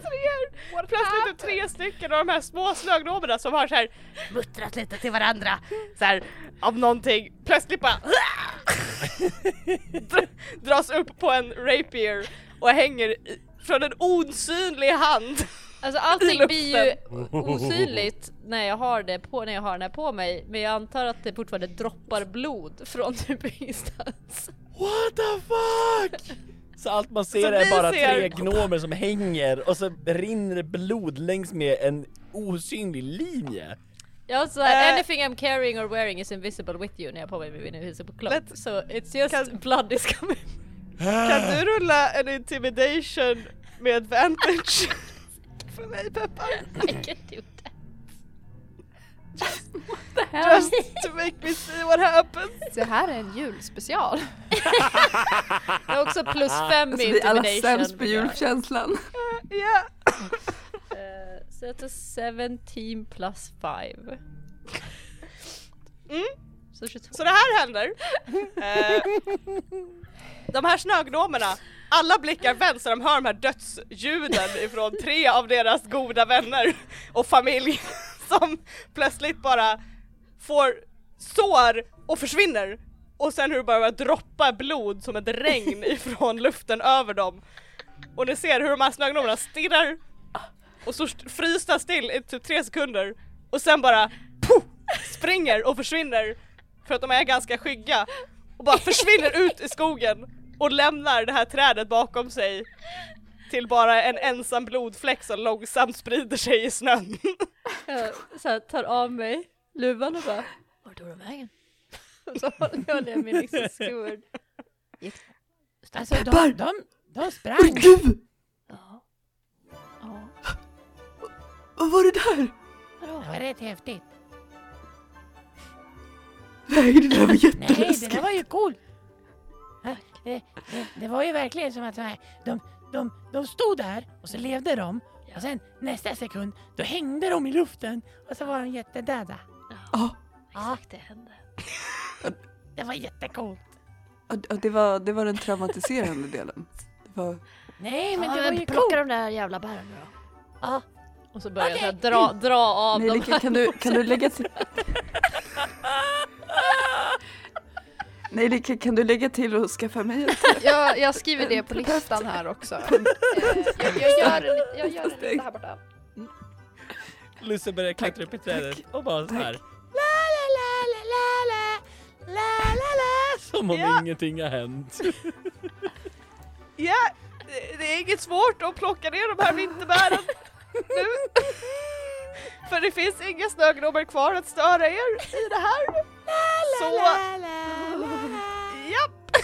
C: Så ni är- Plötsligt är tre stycken av de här små snögnomerna som har så här
K: Muttrat lite till varandra.
C: så här, av någonting plötsligt bara Dr- dras upp på en rapier och hänger i, från en osynlig hand.
I: Alltså
C: I
I: allting
C: luften.
I: blir ju osynligt när jag har det på, när jag har den här på mig men jag antar att det fortfarande droppar blod från typ ingenstans.
G: What the fuck! Så allt man ser
C: Så
G: är
C: ni
G: bara
C: ser-
G: tre gnomer som hänger och så rinner det blod längs med en osynlig linje.
I: Jag har såhär
C: Eh.
I: anything I'm carrying or wearing is invisible with you när jag har på mig min invisible cloak.
C: Let's-
I: so it's just blood is coming.
C: Kan du rulla en intimidation med advantage? För mig Peppar.
B: I can do that.
C: Just to make me see what happens.
E: Det här är en julspecial.
B: Jag har också plus fem
D: Alltså,
B: i
D: vi är alla
B: intimidation.
D: sämst på julkänslan.
C: Ja.
B: Eh, Så jag tar 17 plus 5.
C: Mm.
B: Så 22.
C: Så det här händer. Eh, de här snögnomerna, alla blickar vänds när de hör de här dödsljuden ifrån tre av deras goda vänner och familj som plötsligt bara får sår och försvinner och sen hur det bara börjar droppa blod som ett regn ifrån luften över dem. Och ni ser hur de här snögnomerna stirrar och så st- frysta still i typ tre sekunder och sen bara puff, springer och försvinner för att de är ganska skygga och bara försvinner ut i skogen och lämnar det här trädet bakom sig till bara en ensam blodfläck som långsamt sprider sig i snön.
B: Jag Eh, så här, tar av mig luvan och bara Vart tog de vägen? Och så håller håller jag min liksom skor.
A: Alltså de,
D: Peppar!
A: de, de
D: Men
A: sprang.
D: gud,
B: Ja. Ja.
D: vad var det där?
A: Det var rätt häftigt.
D: Nej, det där var
A: Nej, det där
D: jätteläskigt.
A: var ju coolt. Ja, Det, det, det var ju verkligen som att så här, de, de, de stod där och så levde de och sen nästa sekund då hängde de i luften och så var de jättedöda.
D: Ja,
B: Exakt det hände.
A: Det var jättecoolt.
D: ja, ja, det, var, det var den traumatiserande delen. Det var,
A: Nej, men
B: Men
A: det
B: du
A: var
B: ja,
A: ju
B: men
A: coolt.
B: plocka de där jävla bären nu då.
A: Ja.
B: Och så börjar jag så här, dra, dra av
D: nej,
B: dem.
D: Lika, kan, du, kan du lägga till... Nej, Lika, kan du lägga till och skaffa mig ett
E: Jag, jag skriver det på listan här också. Eh, jag, jag gör en lit- jag gör en lista här borta.
G: Lusse börjar klättra upp i trädet och bara så här. La, la, la, la, la, la. La, la, la. Som om
C: Ja.
G: ingenting har hänt.
C: Ja, det- det är inget svårt att plocka ner de här vinterbären nu. För det finns inga snögnomer kvar att störa er i det här. Så... Japp!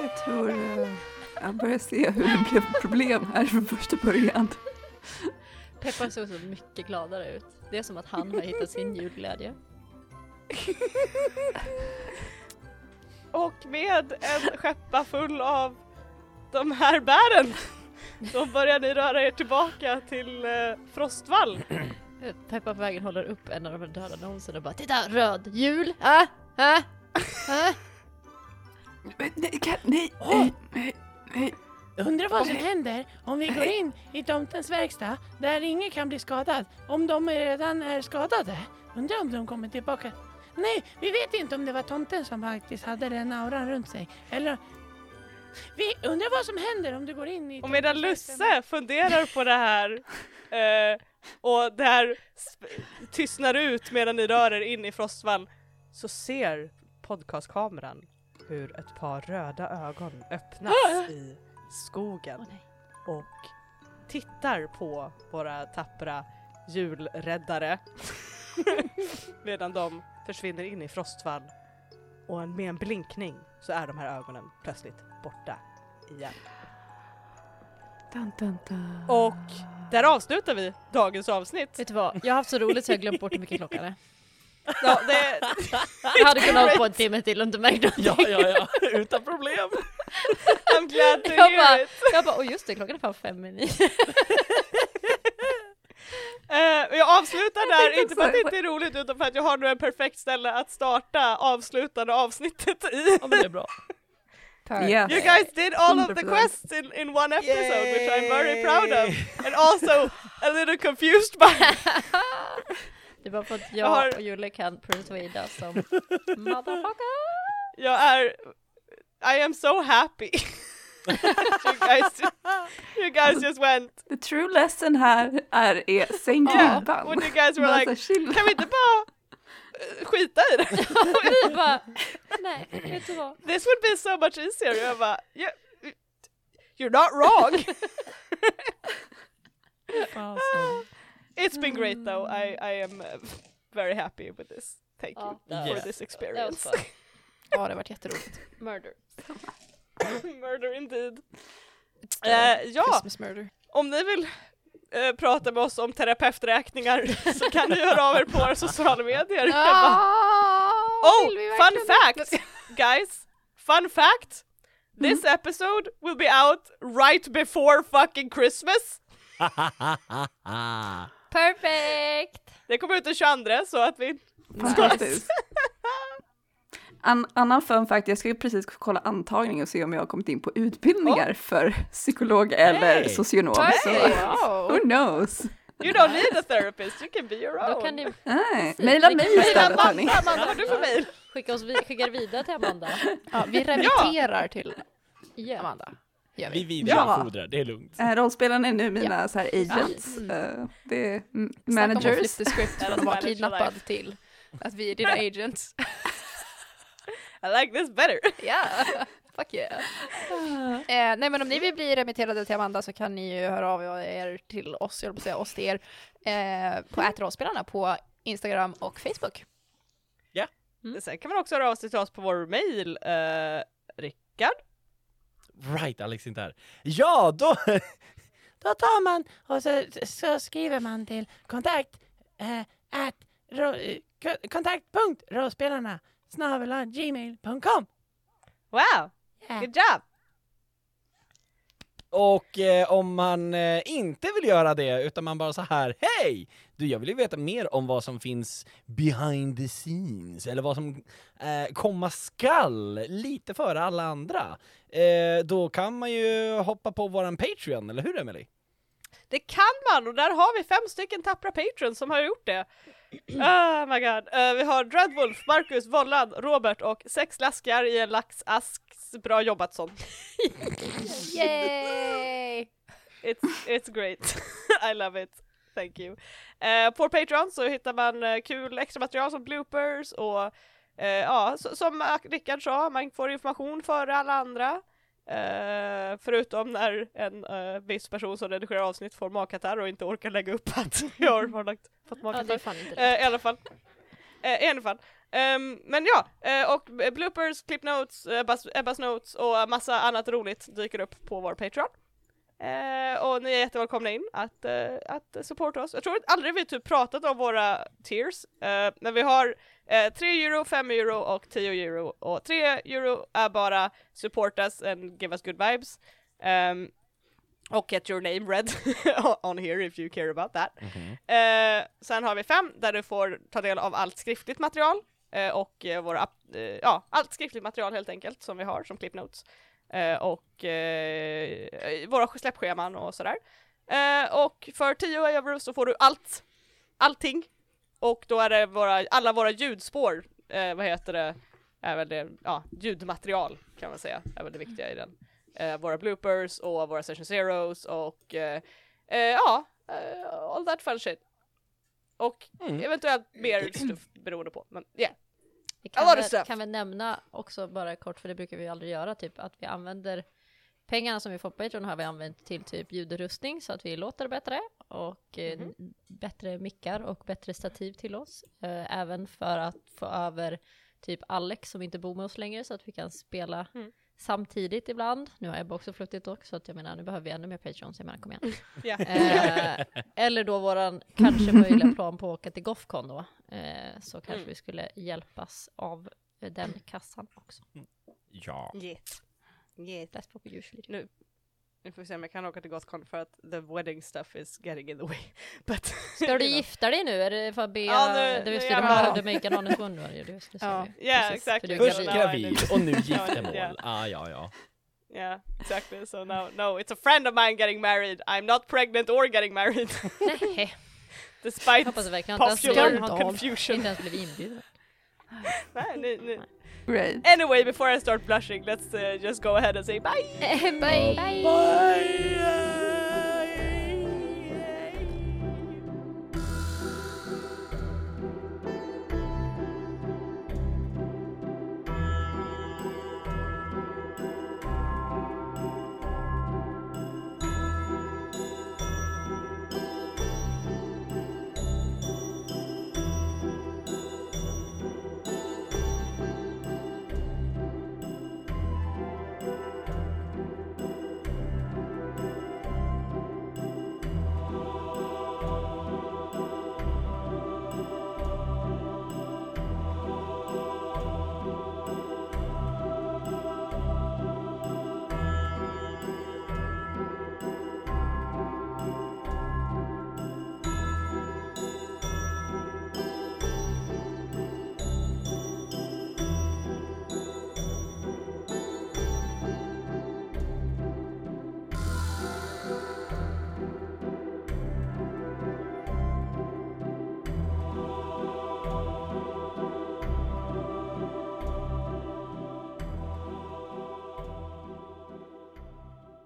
D: Jag tror eh, jag börjar se hur det blev problem här från första början.
B: Peppar såg så mycket gladare ut. Det är som att han har hittat sin julglädje.
C: Och med en skeppa full av de här bären så börjar ni röra er tillbaka till eh, Frostvall.
B: Peppar på vägen håller upp en av de här döda annonserna och bara Titta! Röd jul!
I: Ah,
B: Äh, äh, äh.
D: Men Nej, kan, nej, eh.
A: Åh!
D: nej, nej, nej.
A: Undrar vad som händer om vi går in i tomtens verkstad där ingen kan bli skadad. Om de redan är skadade. Undrar om de kommer tillbaka. Nej, vi vet inte om det var tomten som faktiskt hade den auran runt sig. Eller... Vi undrar vad som händer om du går in i
C: Och medan
A: tomtens verkstad.
C: Lusse funderar på det här eh, och det här sp- tystnar ut medan ni rör er in i Frostvall så ser podcastkameran hur ett par röda ögon öppnas i skogen
B: Ah! Åh, nej.
C: och tittar på våra tappra julräddare medan de försvinner in i Frostvall och en- med en blinkning så är de här ögonen plötsligt borta igen.
D: Dun, dun, dun.
C: Och där avslutar vi dagens avsnitt.
B: Vet du vad? Jag har haft så roligt så jag har glömt bort hur mycket klockan är.
C: Ja, det,
B: Jag hade kunnat hålla på en timme till om du märkte någonting.
G: Ja, ja, ja. Utan problem.
C: I'm glad to
B: Jag
C: hear
B: bara,
C: it.
B: jag bara, och just det, klockan är fan fem i nio.
C: Eh, jag avslutar där,
D: tänkte
C: inte för att det
D: också-
C: inte är roligt utan för att jag har nu en perfekt ställe att starta avslutande avsnittet i.
G: Ja, men det är bra.
D: Yes.
C: You guys did all of the
D: 100%.
C: quests in, in one episode which I'm very proud of and also a little confused by.
B: Det är bara för att
C: Jag
B: jag
C: har-
B: och Julle kan persuada som motherfucker.
C: Jag är... I am so happy. you guys, you guys just went
D: The true lesson här är, är sänk
C: Yeah,
D: ribban.
C: when you guys were
D: Bara
C: like,
D: så här, chill.
C: kan vi inte bara eh, skita i det?
B: Vi bara, nej, vet du vad?
C: this would be so much easier. Jag bara, "Ja, you're not wrong. Ah.
B: Alltså.
C: It's been great though. I, I am uh, very happy with this. Thank you
B: Mm. Ja, det
C: for
B: var-
C: this
B: Det var
C: experience.
B: skönt.
E: Ja, det har varit jätteroligt.
B: Murder.
C: Murder indeed.
E: Eh,
C: Eh, ja,
E: Christmas murder.
C: om ni vill eh, prata med oss om terapeuträkningar så kan ni höra av er på våra sociala medier.
E: Oh,
C: Oh, fun fact guys! Fun fact! This
B: Mm.
C: episode will be out right before fucking Christmas.
E: Perfect!
C: Det kommer ut den 22 så att vi...
D: Fantastiskt. An, annan fun fact, jag ska ju precis kolla antagning och se om jag har kommit in på utbildningar för psykolog eller
G: Hey.
D: socionom. Så, who
E: Wow.
D: knows?
C: You don't need a therapist, you can be your own.
B: Då kan ni
D: Nej, Mejla mig istället hörni.
C: Amanda, vad har du för mejl?
B: skicka, oss vid- skicka er vidare till Amanda.
E: Ja, vi remitterar till
B: Yeah.
E: Amanda. Gör
G: Vi
E: vi.
G: vidarefodrar, det är lugnt.
D: Äh, Rollspelarna är nu mina så här agents.
E: Precis.
D: eh, det är mm,
E: Snacka om att flip
D: managers.
E: the script från att vara
C: Manager
E: kidnappad till att vi är dina agents.
C: I like this better.
E: Yeah, fuck yeah. Eh, nej men om ni vill bli remitterade till Amanda så kan ni ju höra av er till oss, jag höll på att säga oss till er, eh, på ätrollspelarna på Instagram och Facebook.
B: Mm.
C: Men Sen kan man också höra av sig till oss på vår mejl, eh, Rickard.
G: Right, Alex är inte här. Ja, då...
A: Då tar man och så, så skriver man till kontakt eh, at ro, eh, ko- kontaktpunkt rollspelarna snabel-a gmail.com.
C: Wow,
A: Yeah.
C: good job!
G: Och eh, om man eh, inte vill göra det, utan man bara så här, hej! Du, jag vill ju veta mer om vad som finns behind the scenes, eller vad som eh, komma skall, lite före alla andra. Eh, då kan man ju hoppa på våran Patreon, eller hur Emily?
C: Det kan man och där har vi fem stycken tappra patrons som har gjort det. Oh my god. Eh, vi har Dreadwolf, Marcus, Vollan, Robert och sex laskar i en laxask. Bra jobbat sånt.
E: Yay!
C: It's, it's great. I love it. Thank you. Eh, på Patreon så hittar man eh, kul extra material som bloopers och eh, ja, så, som Rickard sa, man får information före alla andra. Eh, förutom när en eh, viss person som redigerar avsnitt får magkatarr och inte orkar lägga upp att jag har lagt, fått
B: Ja, det är
C: magkatarr.
B: fan inte
C: Eh,
B: rätt.
C: I alla fall. Eh, I alla fall. Ehm, men ja, eh, och bloopers, clip notes, eh, Ebbas- Ebbas notes och massa annat roligt dyker upp på vår Patreon. Eh, och ni är jättevälkomna in att, eh, att supporta oss. Jag tror att aldrig vi typ pratat om våra tiers, eh, men vi har eh, 3 euro, 5 euro och 10 euro. Och 3 euro är bara support us and give us good vibes. Ehm, och get your name read on here if you care about that. Eh, sen har vi fem där du får ta del av allt skriftligt material eh, och eh, våra, app- eh, ja, allt skriftligt material helt enkelt som vi har som clip notes eh, och eh, våra släppscheman och sådär. Eh, och för 10 euro så får du allt, allting och då är det våra, alla våra ljudspår, eh, vad heter det, är väl det, ja, ljudmaterial kan man säga, är väl det viktiga i den. Eh, våra bloopers och våra session zeros och eh, eh, ja, eh, all that fun shit. Och eventuellt mer stuff beroende på. Men yeah.
B: Vi
C: I love
B: kan, väl,
C: stuff.
B: kan väl nämna också bara kort, för det brukar vi aldrig göra, typ att vi använder pengarna som vi får på Patreon har vi använt till typ ljudutrustning så att vi låter bättre och eh, bättre mickar och bättre stativ till oss. Eh, även för att få över typ Alex som inte bor med oss längre så att vi kan spela
C: Mm.
B: samtidigt ibland. Nu har Ebba också flyttat dock så att jag menar nu behöver vi ännu mer Patreon så jag menar kom igen.
C: yeah.
B: Eh, eller då våran kanske möjliga plan på att åka till Gothcon då. Eh, så kanske
C: Mm.
B: vi skulle hjälpas av eh, den kassan också.
H: Ja.
C: Yes.
B: That's what we usually do.
C: Nu, nu får vi se om jag kan åka till Gothcon för att the wedding stuff is getting in the way. But
B: Ska du gifta dig nu? Är det för att be... eh,
C: Ja, nu-
B: det visste
C: nu
B: du
C: jävlar.
B: bara, the make an honest one var det ju. det skulle
E: Ja.
B: säga.
C: Ja,
B: Precis,
C: exakt.
B: för du är
C: Först
G: Först
B: gravid.
G: gravid och nu
C: Ja.
G: giftermål. Ah, ja, ja.
C: yeah, exactly. So now, no, it's a friend of mine getting married. I'm not pregnant or getting married.
B: Nej,
C: Despite
B: jag hoppas verkligen att inte ens
C: popular
B: blev,
C: confusion.
B: inte ens blev inbjuden.
C: Nej, nej, nej.
D: Great.
C: Eh, Anyway, before I start blushing, let's uh, just go ahead and say bye!
E: Bye!
A: Bye!